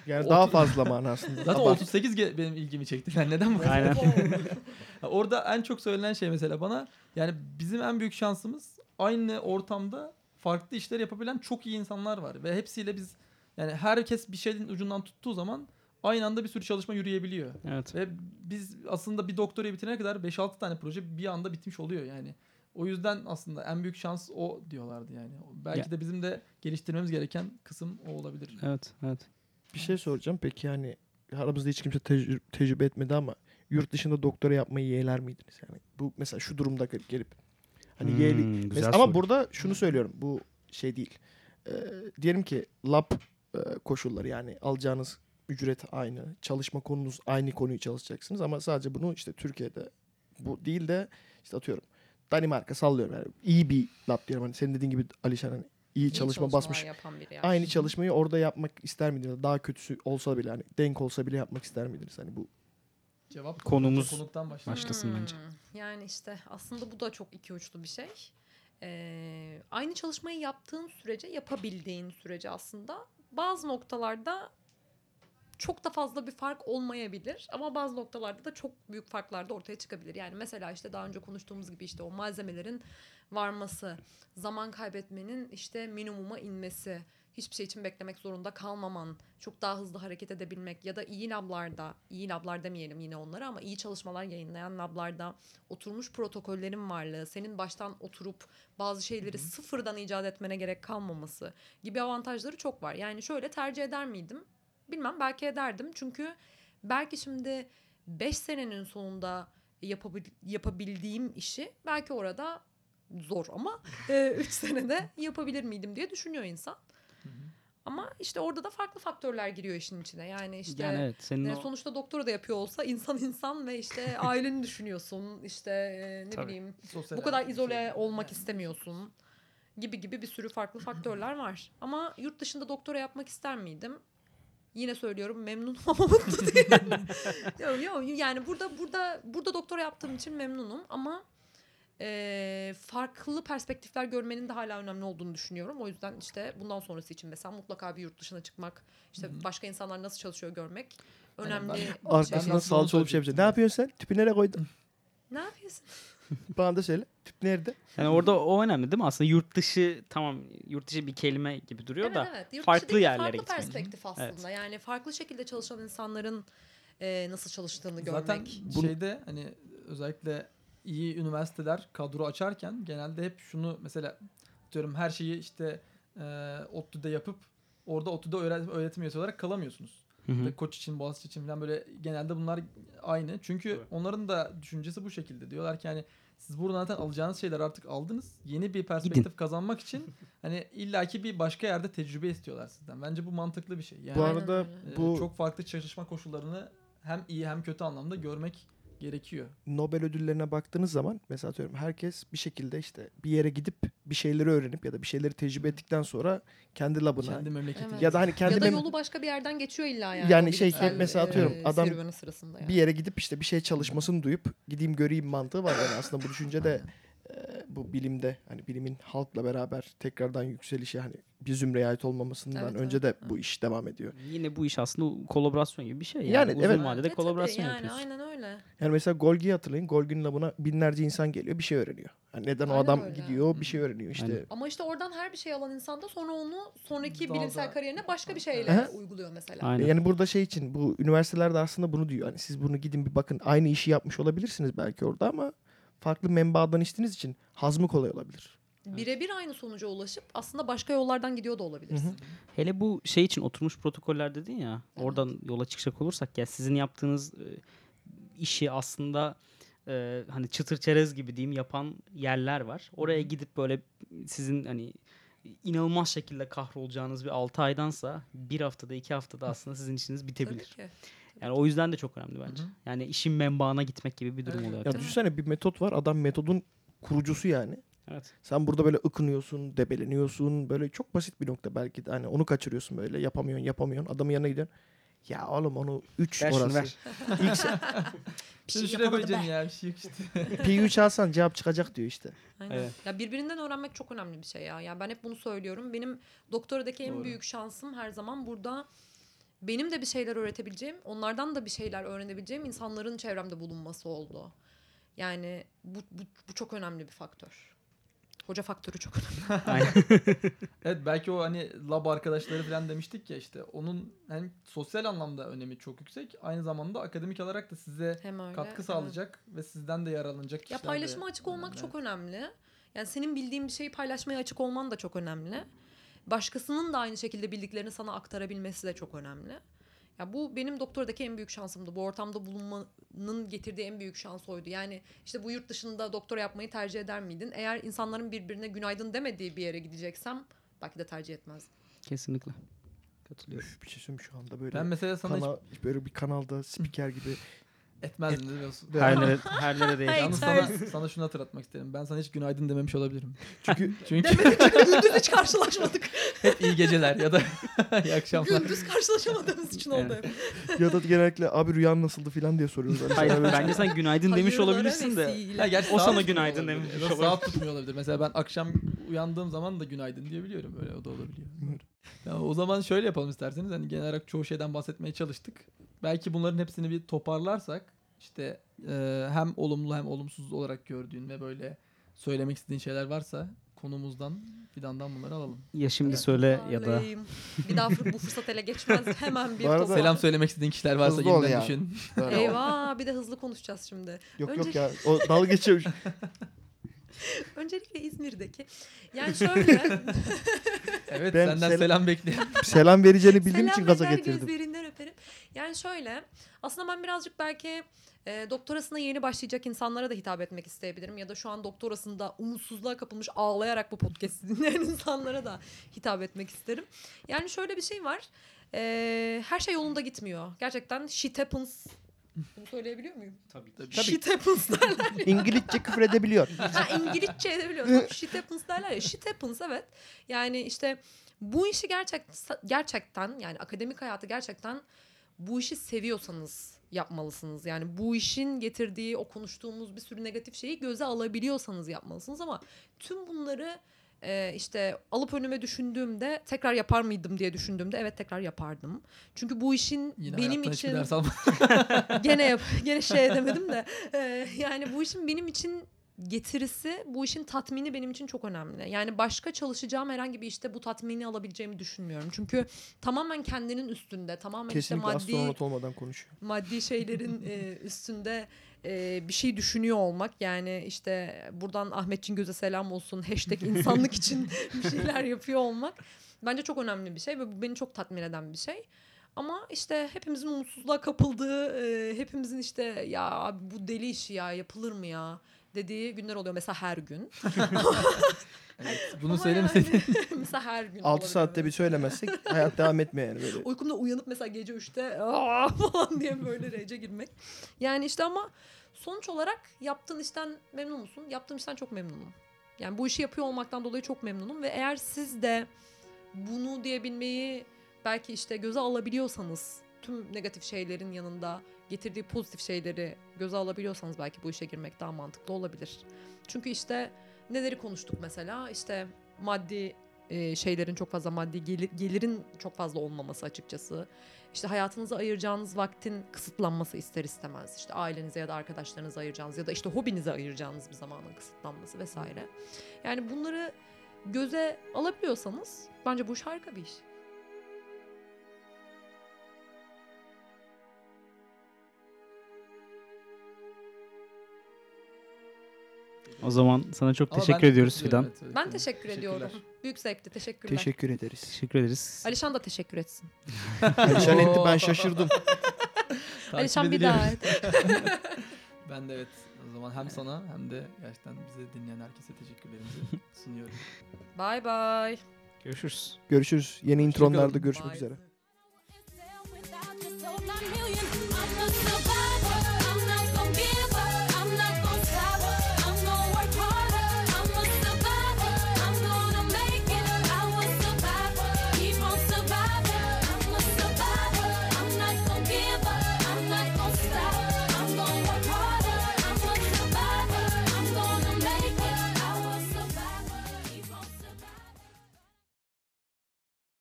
Yani Ot- daha fazla manasında. Zaten Abart- 38 ge- benim ilgimi çekti. Yani neden bu kadar? Aynen. Ya [LAUGHS] Orada en çok söylenen şey mesela bana yani bizim en büyük şansımız aynı ortamda farklı işler yapabilen çok iyi insanlar var ve hepsiyle biz yani herkes bir şeyin ucundan tuttuğu zaman aynı anda bir sürü çalışma yürüyebiliyor. Evet. Ve biz aslında bir doktorayı bitirene kadar 5-6 tane proje bir anda bitmiş oluyor yani. O yüzden aslında en büyük şans o diyorlardı yani. Belki Ya. de bizim de geliştirmemiz gereken kısım o olabilir. Evet, evet. Bir şey soracağım. Peki hani aramızda hiç kimse tecrü- tecrübe etmedi ama yurt dışında doktora yapmayı yeğler miydiniz? Yani bu mesela şu durumda gelip gelip hani Hmm, yeğli- güzel Mes- soru. ama burada şunu söylüyorum. Bu şey değil. Ee, diyelim ki lab e, koşulları yani alacağınız ücret aynı, çalışma konunuz aynı konuyu çalışacaksınız ama sadece bunu işte Türkiye'de bu değil de işte atıyorum Danimarka sallıyorum yani iyi bir lab diyelim hani senin dediğin gibi Alişan hani iyi çalışma basmış Yapan biri yani. aynı çalışmayı orada yapmak ister miydiniz? Daha kötüsü olsa bile hani denk olsa bile yapmak ister miydiniz? Hani bu Cevap Konumuz- konuktan başlayalım. Başlasın bence. Hmm, Yani işte aslında bu da çok iki uçlu bir şey. Ee, aynı çalışmayı yaptığın sürece, yapabildiğin sürece aslında bazı noktalarda çok da fazla bir fark olmayabilir ama bazı noktalarda da çok büyük farklar da ortaya çıkabilir. Yani mesela işte daha önce konuştuğumuz gibi işte o malzemelerin varması, zaman kaybetmenin işte minimuma inmesi, hiçbir şey için beklemek zorunda kalmaman, çok daha hızlı hareket edebilmek ya da iyi lablarda, iyi lablar demeyelim yine onlara ama iyi çalışmalar yayınlayan lablarda oturmuş protokollerin varlığı, senin baştan oturup bazı şeyleri sıfırdan icat etmene gerek kalmaması gibi avantajları çok var. Yani şöyle tercih eder miydim? Bilmem belki ederdim çünkü belki şimdi 5 senenin sonunda yapabil- yapabildiğim işi belki orada zor ama 3 senede yapabilir miydim diye düşünüyor insan. Ama işte orada da farklı faktörler giriyor işin içine. Yani işte yani evet, senin e, o sonuçta doktora da yapıyor olsa insan insan ve işte aileni düşünüyorsun. işte e, ne Tabii. bileyim Sosyal bu kadar hayatımız izole olmak Yani. istemiyorsun gibi gibi bir sürü farklı faktörler var. Ama yurt dışında doktora yapmak ister miydim? Yine söylüyorum memnunum [LAUGHS] ama mutlu değilim. yok yok yani burada burada burada doktora yaptığım için memnunum ama e, farklı perspektifler görmenin de hala önemli olduğunu düşünüyorum. O yüzden işte bundan sonrası için mesela mutlaka bir yurt dışına çıkmak, işte başka insanlar nasıl çalışıyor görmek Aynen, önemli. ben- bir şey. arkasından ben- salça olup şey yapacak. Ne yapıyorsun sen? Tipi nereye [LAUGHS] koydun? Ne yapıyorsun? Bana da söyle. Tip nerede? yani orada o önemli değil mi? Aslında yurt dışı tamam yurt dışı bir kelime gibi duruyor Evet da evet. Yurt farklı dışı değil, yerlere farklı gitmek. perspektif aslında. Yani farklı şekilde çalışan insanların e, nasıl çalıştığını görmek. Zaten şeyde hani özellikle iyi üniversiteler kadro açarken genelde hep şunu mesela diyorum her şeyi işte e, ODTÜ'de yapıp orada ODTÜ'de öğretim, öğretim üyesi olarak kalamıyorsunuz. Hı hı. Ve Koç için, Boğaziçi için falan böyle genelde bunlar aynı. Çünkü onların da düşüncesi bu şekilde. Diyorlar ki hani siz buradan zaten alacağınız şeyler artık aldınız. Yeni bir perspektif kazanmak [LAUGHS] için hani illaki bir başka yerde tecrübe istiyorlar sizden. Bence bu mantıklı bir şey. Yani Bu Aynen arada öyle. ee, bu çok farklı çalışma koşullarını hem iyi hem kötü anlamda görmek gerekiyor. Nobel ödüllerine baktığınız zaman mesela atıyorum herkes bir şekilde işte bir yere gidip bir şeyleri öğrenip ya da bir şeyleri tecrübe ettikten sonra kendi labına Kendi memleketini. Evet. ya da hani kendi ya da mem- yolu başka bir yerden geçiyor illa yani. Yani o şey, bilimsel, mesela atıyorum, adam serüveni sırasında yani. bir yere gidip işte bir şey çalışmasını duyup gideyim göreyim mantığı var yani aslında bu düşünce de e, bu bilimde hani bilimin halkla beraber tekrardan yükselişi hani bir zümreye ait olmamasından Evet, önce evet, de bu iş devam ediyor. Yine bu iş aslında kolaborasyon gibi bir şey. Yani, Yani uzun evet. vadede E, tabii kolaborasyon yani, yapıyorsun. Aynen öyle. öyle. Yani mesela Golgi'yi hatırlayın. Golgi'nin labına binlerce insan geliyor bir şey öğreniyor. Yani neden o Aynen adam öyle. gidiyor bir şey öğreniyor işte. Ama işte oradan her bir şey alan insan da sonra onu sonraki Daha bilimsel da- kariyerine başka bir şeyle Aha. uyguluyor mesela. Aynen. Yani burada şey için bu üniversitelerde aslında bunu diyor. Hani siz bunu gidin bir bakın aynı işi yapmış olabilirsiniz belki orada ama farklı menbaadan içtiğiniz için hazmı kolay olabilir. Birebir aynı sonuca ulaşıp aslında başka yollardan gidiyor da olabilirsin. Hele bu şey için oturmuş protokoller dedin ya. Oradan yola çıkacak olursak ya sizin yaptığınız e, işi aslında e, hani çıtır çerez gibi diyeyim yapan yerler var. Oraya gidip böyle sizin hani inanılmaz şekilde kahrolacağınız bir 6 aydansa bir haftada iki haftada aslında sizin işiniz Tabii bitebilir. ki. Yani o yüzden de çok önemli bence. Yani işin menbaına gitmek gibi bir durum Evet. oluyor. Ya düşünsene bir metot var. Adam metodun kurucusu yani. Evet. Sen burada böyle ıkınıyorsun, debeleniyorsun. Böyle çok basit bir nokta belki de. Hani onu kaçırıyorsun böyle. Yapamıyorsun, yapamıyorsun. Adamın yanına gidiyorsun. Ya oğlum onu 3 Ver şunu, orası. [LAUGHS] ver. İlk sen- Bir Şunu şey şuraya yapamadım koyacaksın ben. ya bir şey yok işte. P3 alsan cevap çıkacak diyor işte. Aynen. Evet. Ya birbirinden öğrenmek çok önemli bir şey ya. Yani ben hep bunu söylüyorum. Benim doktoradaki en Doğru. büyük şansım her zaman burada benim de bir şeyler öğretebileceğim, onlardan da bir şeyler öğrenebileceğim insanların çevremde bulunması oldu. Yani bu, bu, bu çok önemli bir faktör. Hoca faktörü çok önemli. [LAUGHS] Evet belki o hani lab arkadaşları falan demiştik ya işte onun hem sosyal anlamda önemi çok yüksek aynı zamanda akademik olarak da size Hem öyle, katkı hem- sağlayacak ve sizden de yararlanacak Ya kişiler de- paylaşıma açık olmak çok önemli. Yani senin bildiğin bir şeyi paylaşmaya açık olman da çok önemli. Başkasının da aynı şekilde bildiklerini sana aktarabilmesi de çok önemli. Ya bu benim doktoradaki en büyük şansımdı. Bu ortamda bulunmanın getirdiği en büyük şans oydu. Yani işte bu yurt dışında doktora yapmayı tercih eder miydin? Eğer insanların birbirine günaydın demediği bir yere gideceksem belki de tercih etmezdim. Kesinlikle. [LAUGHS] Katılıyorum. Üf, bir şey söyleyeyim şu anda böyle. Ben mesela sana kana- böyle bir kanalda spiker gibi. hiç etmezdim ne biliyorsun. Her nere, her nere değil. Yalnız sana, sana şunu hatırlatmak isterim. Ben sana hiç günaydın dememiş olabilirim. Çünkü [LAUGHS] çünkü Demedik çünkü gündüz hiç [LAUGHS] karşılaşmadık. hep iyi geceler ya da [LAUGHS] iyi akşamlar. gündüz karşılaşamadığımız için oldu. hep. ya da genellikle abi rüyan nasıldı falan diye soruyoruz. Hani [LAUGHS] Hayır sana böyle- bence sen günaydın demiş Hayırlara olabilirsin de. vesile. Ya gerçi O saat sana tutmuyor günaydın olabilir. dememiş Ya da olabilir. Saat tutmuyor olabilir. Mesela ben akşam uyandığım zaman da günaydın diyebiliyorum. Öyle o da olabiliyor. Ya o zaman şöyle yapalım isterseniz. Hani genel olarak çoğu şeyden bahsetmeye çalıştık. Belki bunların hepsini bir toparlarsak işte e, hem olumlu hem olumsuz olarak gördüğün ve böyle söylemek istediğin şeyler varsa konumuzdan fidandan bunları alalım. Ya şimdi Evet, söyle ya da toparlayayım. bir daha bu fırsat [LAUGHS] ele geçmez. Hemen bir Bu arada- topa. Selam söylemek istediğin kişiler varsa Hızlı ol yeniden ya. düşün. Böyle- Eyvah bir de hızlı konuşacağız şimdi. Yok Önce- yok ya. O dalga geçiyormuş. Öncelikle İzmir'deki. Yani şöyle. Evet Ben senden selam- selam bekliyorum. Selam vereceğini bildiğim selam için gaza eder getirdim. gözlerinden öperim. Yani şöyle. Aslında ben birazcık belki e, doktorasına yeni başlayacak insanlara da hitap etmek isteyebilirim. Ya da şu an doktorasında umutsuzluğa kapılmış ağlayarak bu podcast'i [LAUGHS] dinleyen insanlara da hitap etmek isterim. Yani şöyle bir şey var. E, her şey yolunda gitmiyor. Gerçekten shit happens. Bunu söyleyebiliyor muyum? Shit happens derler. İngilizce küfür edebiliyor. ha, İngilizce edebiliyorsun. Shit happens derler ya. Shit happens evet. Yani işte bu işi gerçek, gerçekten yani akademik hayatı gerçekten bu işi seviyorsanız yapmalısınız. Yani bu işin getirdiği o konuştuğumuz bir sürü negatif şeyi göze alabiliyorsanız yapmalısınız ama tüm bunları e, işte alıp önüme düşündüğümde tekrar yapar mıydım diye düşündüğümde evet tekrar yapardım. Çünkü bu işin Yine benim hayattan hiçbir için ders alma- gene yap gene şey edemedim de Ee, yani bu işin benim için getirisi bu işin tatmini benim için çok önemli. Yani başka çalışacağım herhangi bir işte bu tatmini alabileceğimi düşünmüyorum. Çünkü tamamen kendinin üstünde tamamen Kesinlikle işte maddi astronot olmadan konuşuyor. maddi şeylerin e, üstünde e, bir şey düşünüyor olmak yani işte buradan Ahmetçin göze selam olsun hashtag insanlık için [LAUGHS] bir şeyler yapıyor olmak bence çok önemli bir şey ve bu beni çok tatmin eden bir şey. Ama işte hepimizin umutsuzluğa kapıldığı, e, hepimizin işte ya abi bu deli işi ya yapılır mı ya dediği günler oluyor. Mesela her gün. Evet, Ama Bunu söylemeseydin. yani [LAUGHS] mesela her gün. 6 olabiliyor saatte bir söylemezsek hayat devam etmiyor yani böyle. uykumda uyanıp mesela gece 3'te "Aa!" [LAUGHS] falan diye böyle rece girmek. Yani işte ama sonuç olarak yaptığın işten memnun musun? Yaptığım işten çok memnunum. Yani bu işi yapıyor olmaktan dolayı çok memnunum ve eğer siz de bunu diyebilmeyi belki işte göze alabiliyorsanız tüm negatif şeylerin yanında getirdiği pozitif şeyleri göze alabiliyorsanız belki bu işe girmek daha mantıklı olabilir. Çünkü işte neleri konuştuk mesela işte maddi e, şeylerin çok fazla maddi gelir, gelirin çok fazla olmaması açıkçası. İşte hayatınıza ayıracağınız vaktin kısıtlanması ister istemez. İşte ailenize ya da arkadaşlarınıza ayıracağınız ya da işte hobinize ayıracağınız bir zamanın kısıtlanması vesaire. Yani bunları göze alabiliyorsanız bence bu iş harika bir iş. O zaman sana çok Ama teşekkür ben- ediyoruz Fidan. Evet, evet, Ben evet. teşekkür ediyorum. Büyük zevkti. Teşekkürler. Teşekkür ederiz. Teşekkür ederiz. Alişan da teşekkür etsin. Perişan etti ben şaşırdım. Takip [LAUGHS] Alişan bir ediliyoruz. daha et. [LAUGHS] Ben de evet. O zaman hem sana hem de gerçekten bizi dinleyen herkese teşekkürlerimizi sunuyorum. Bay bay. Görüşürüz. Görüşürüz. Yeni intronlarda görüşmek Bye. üzere.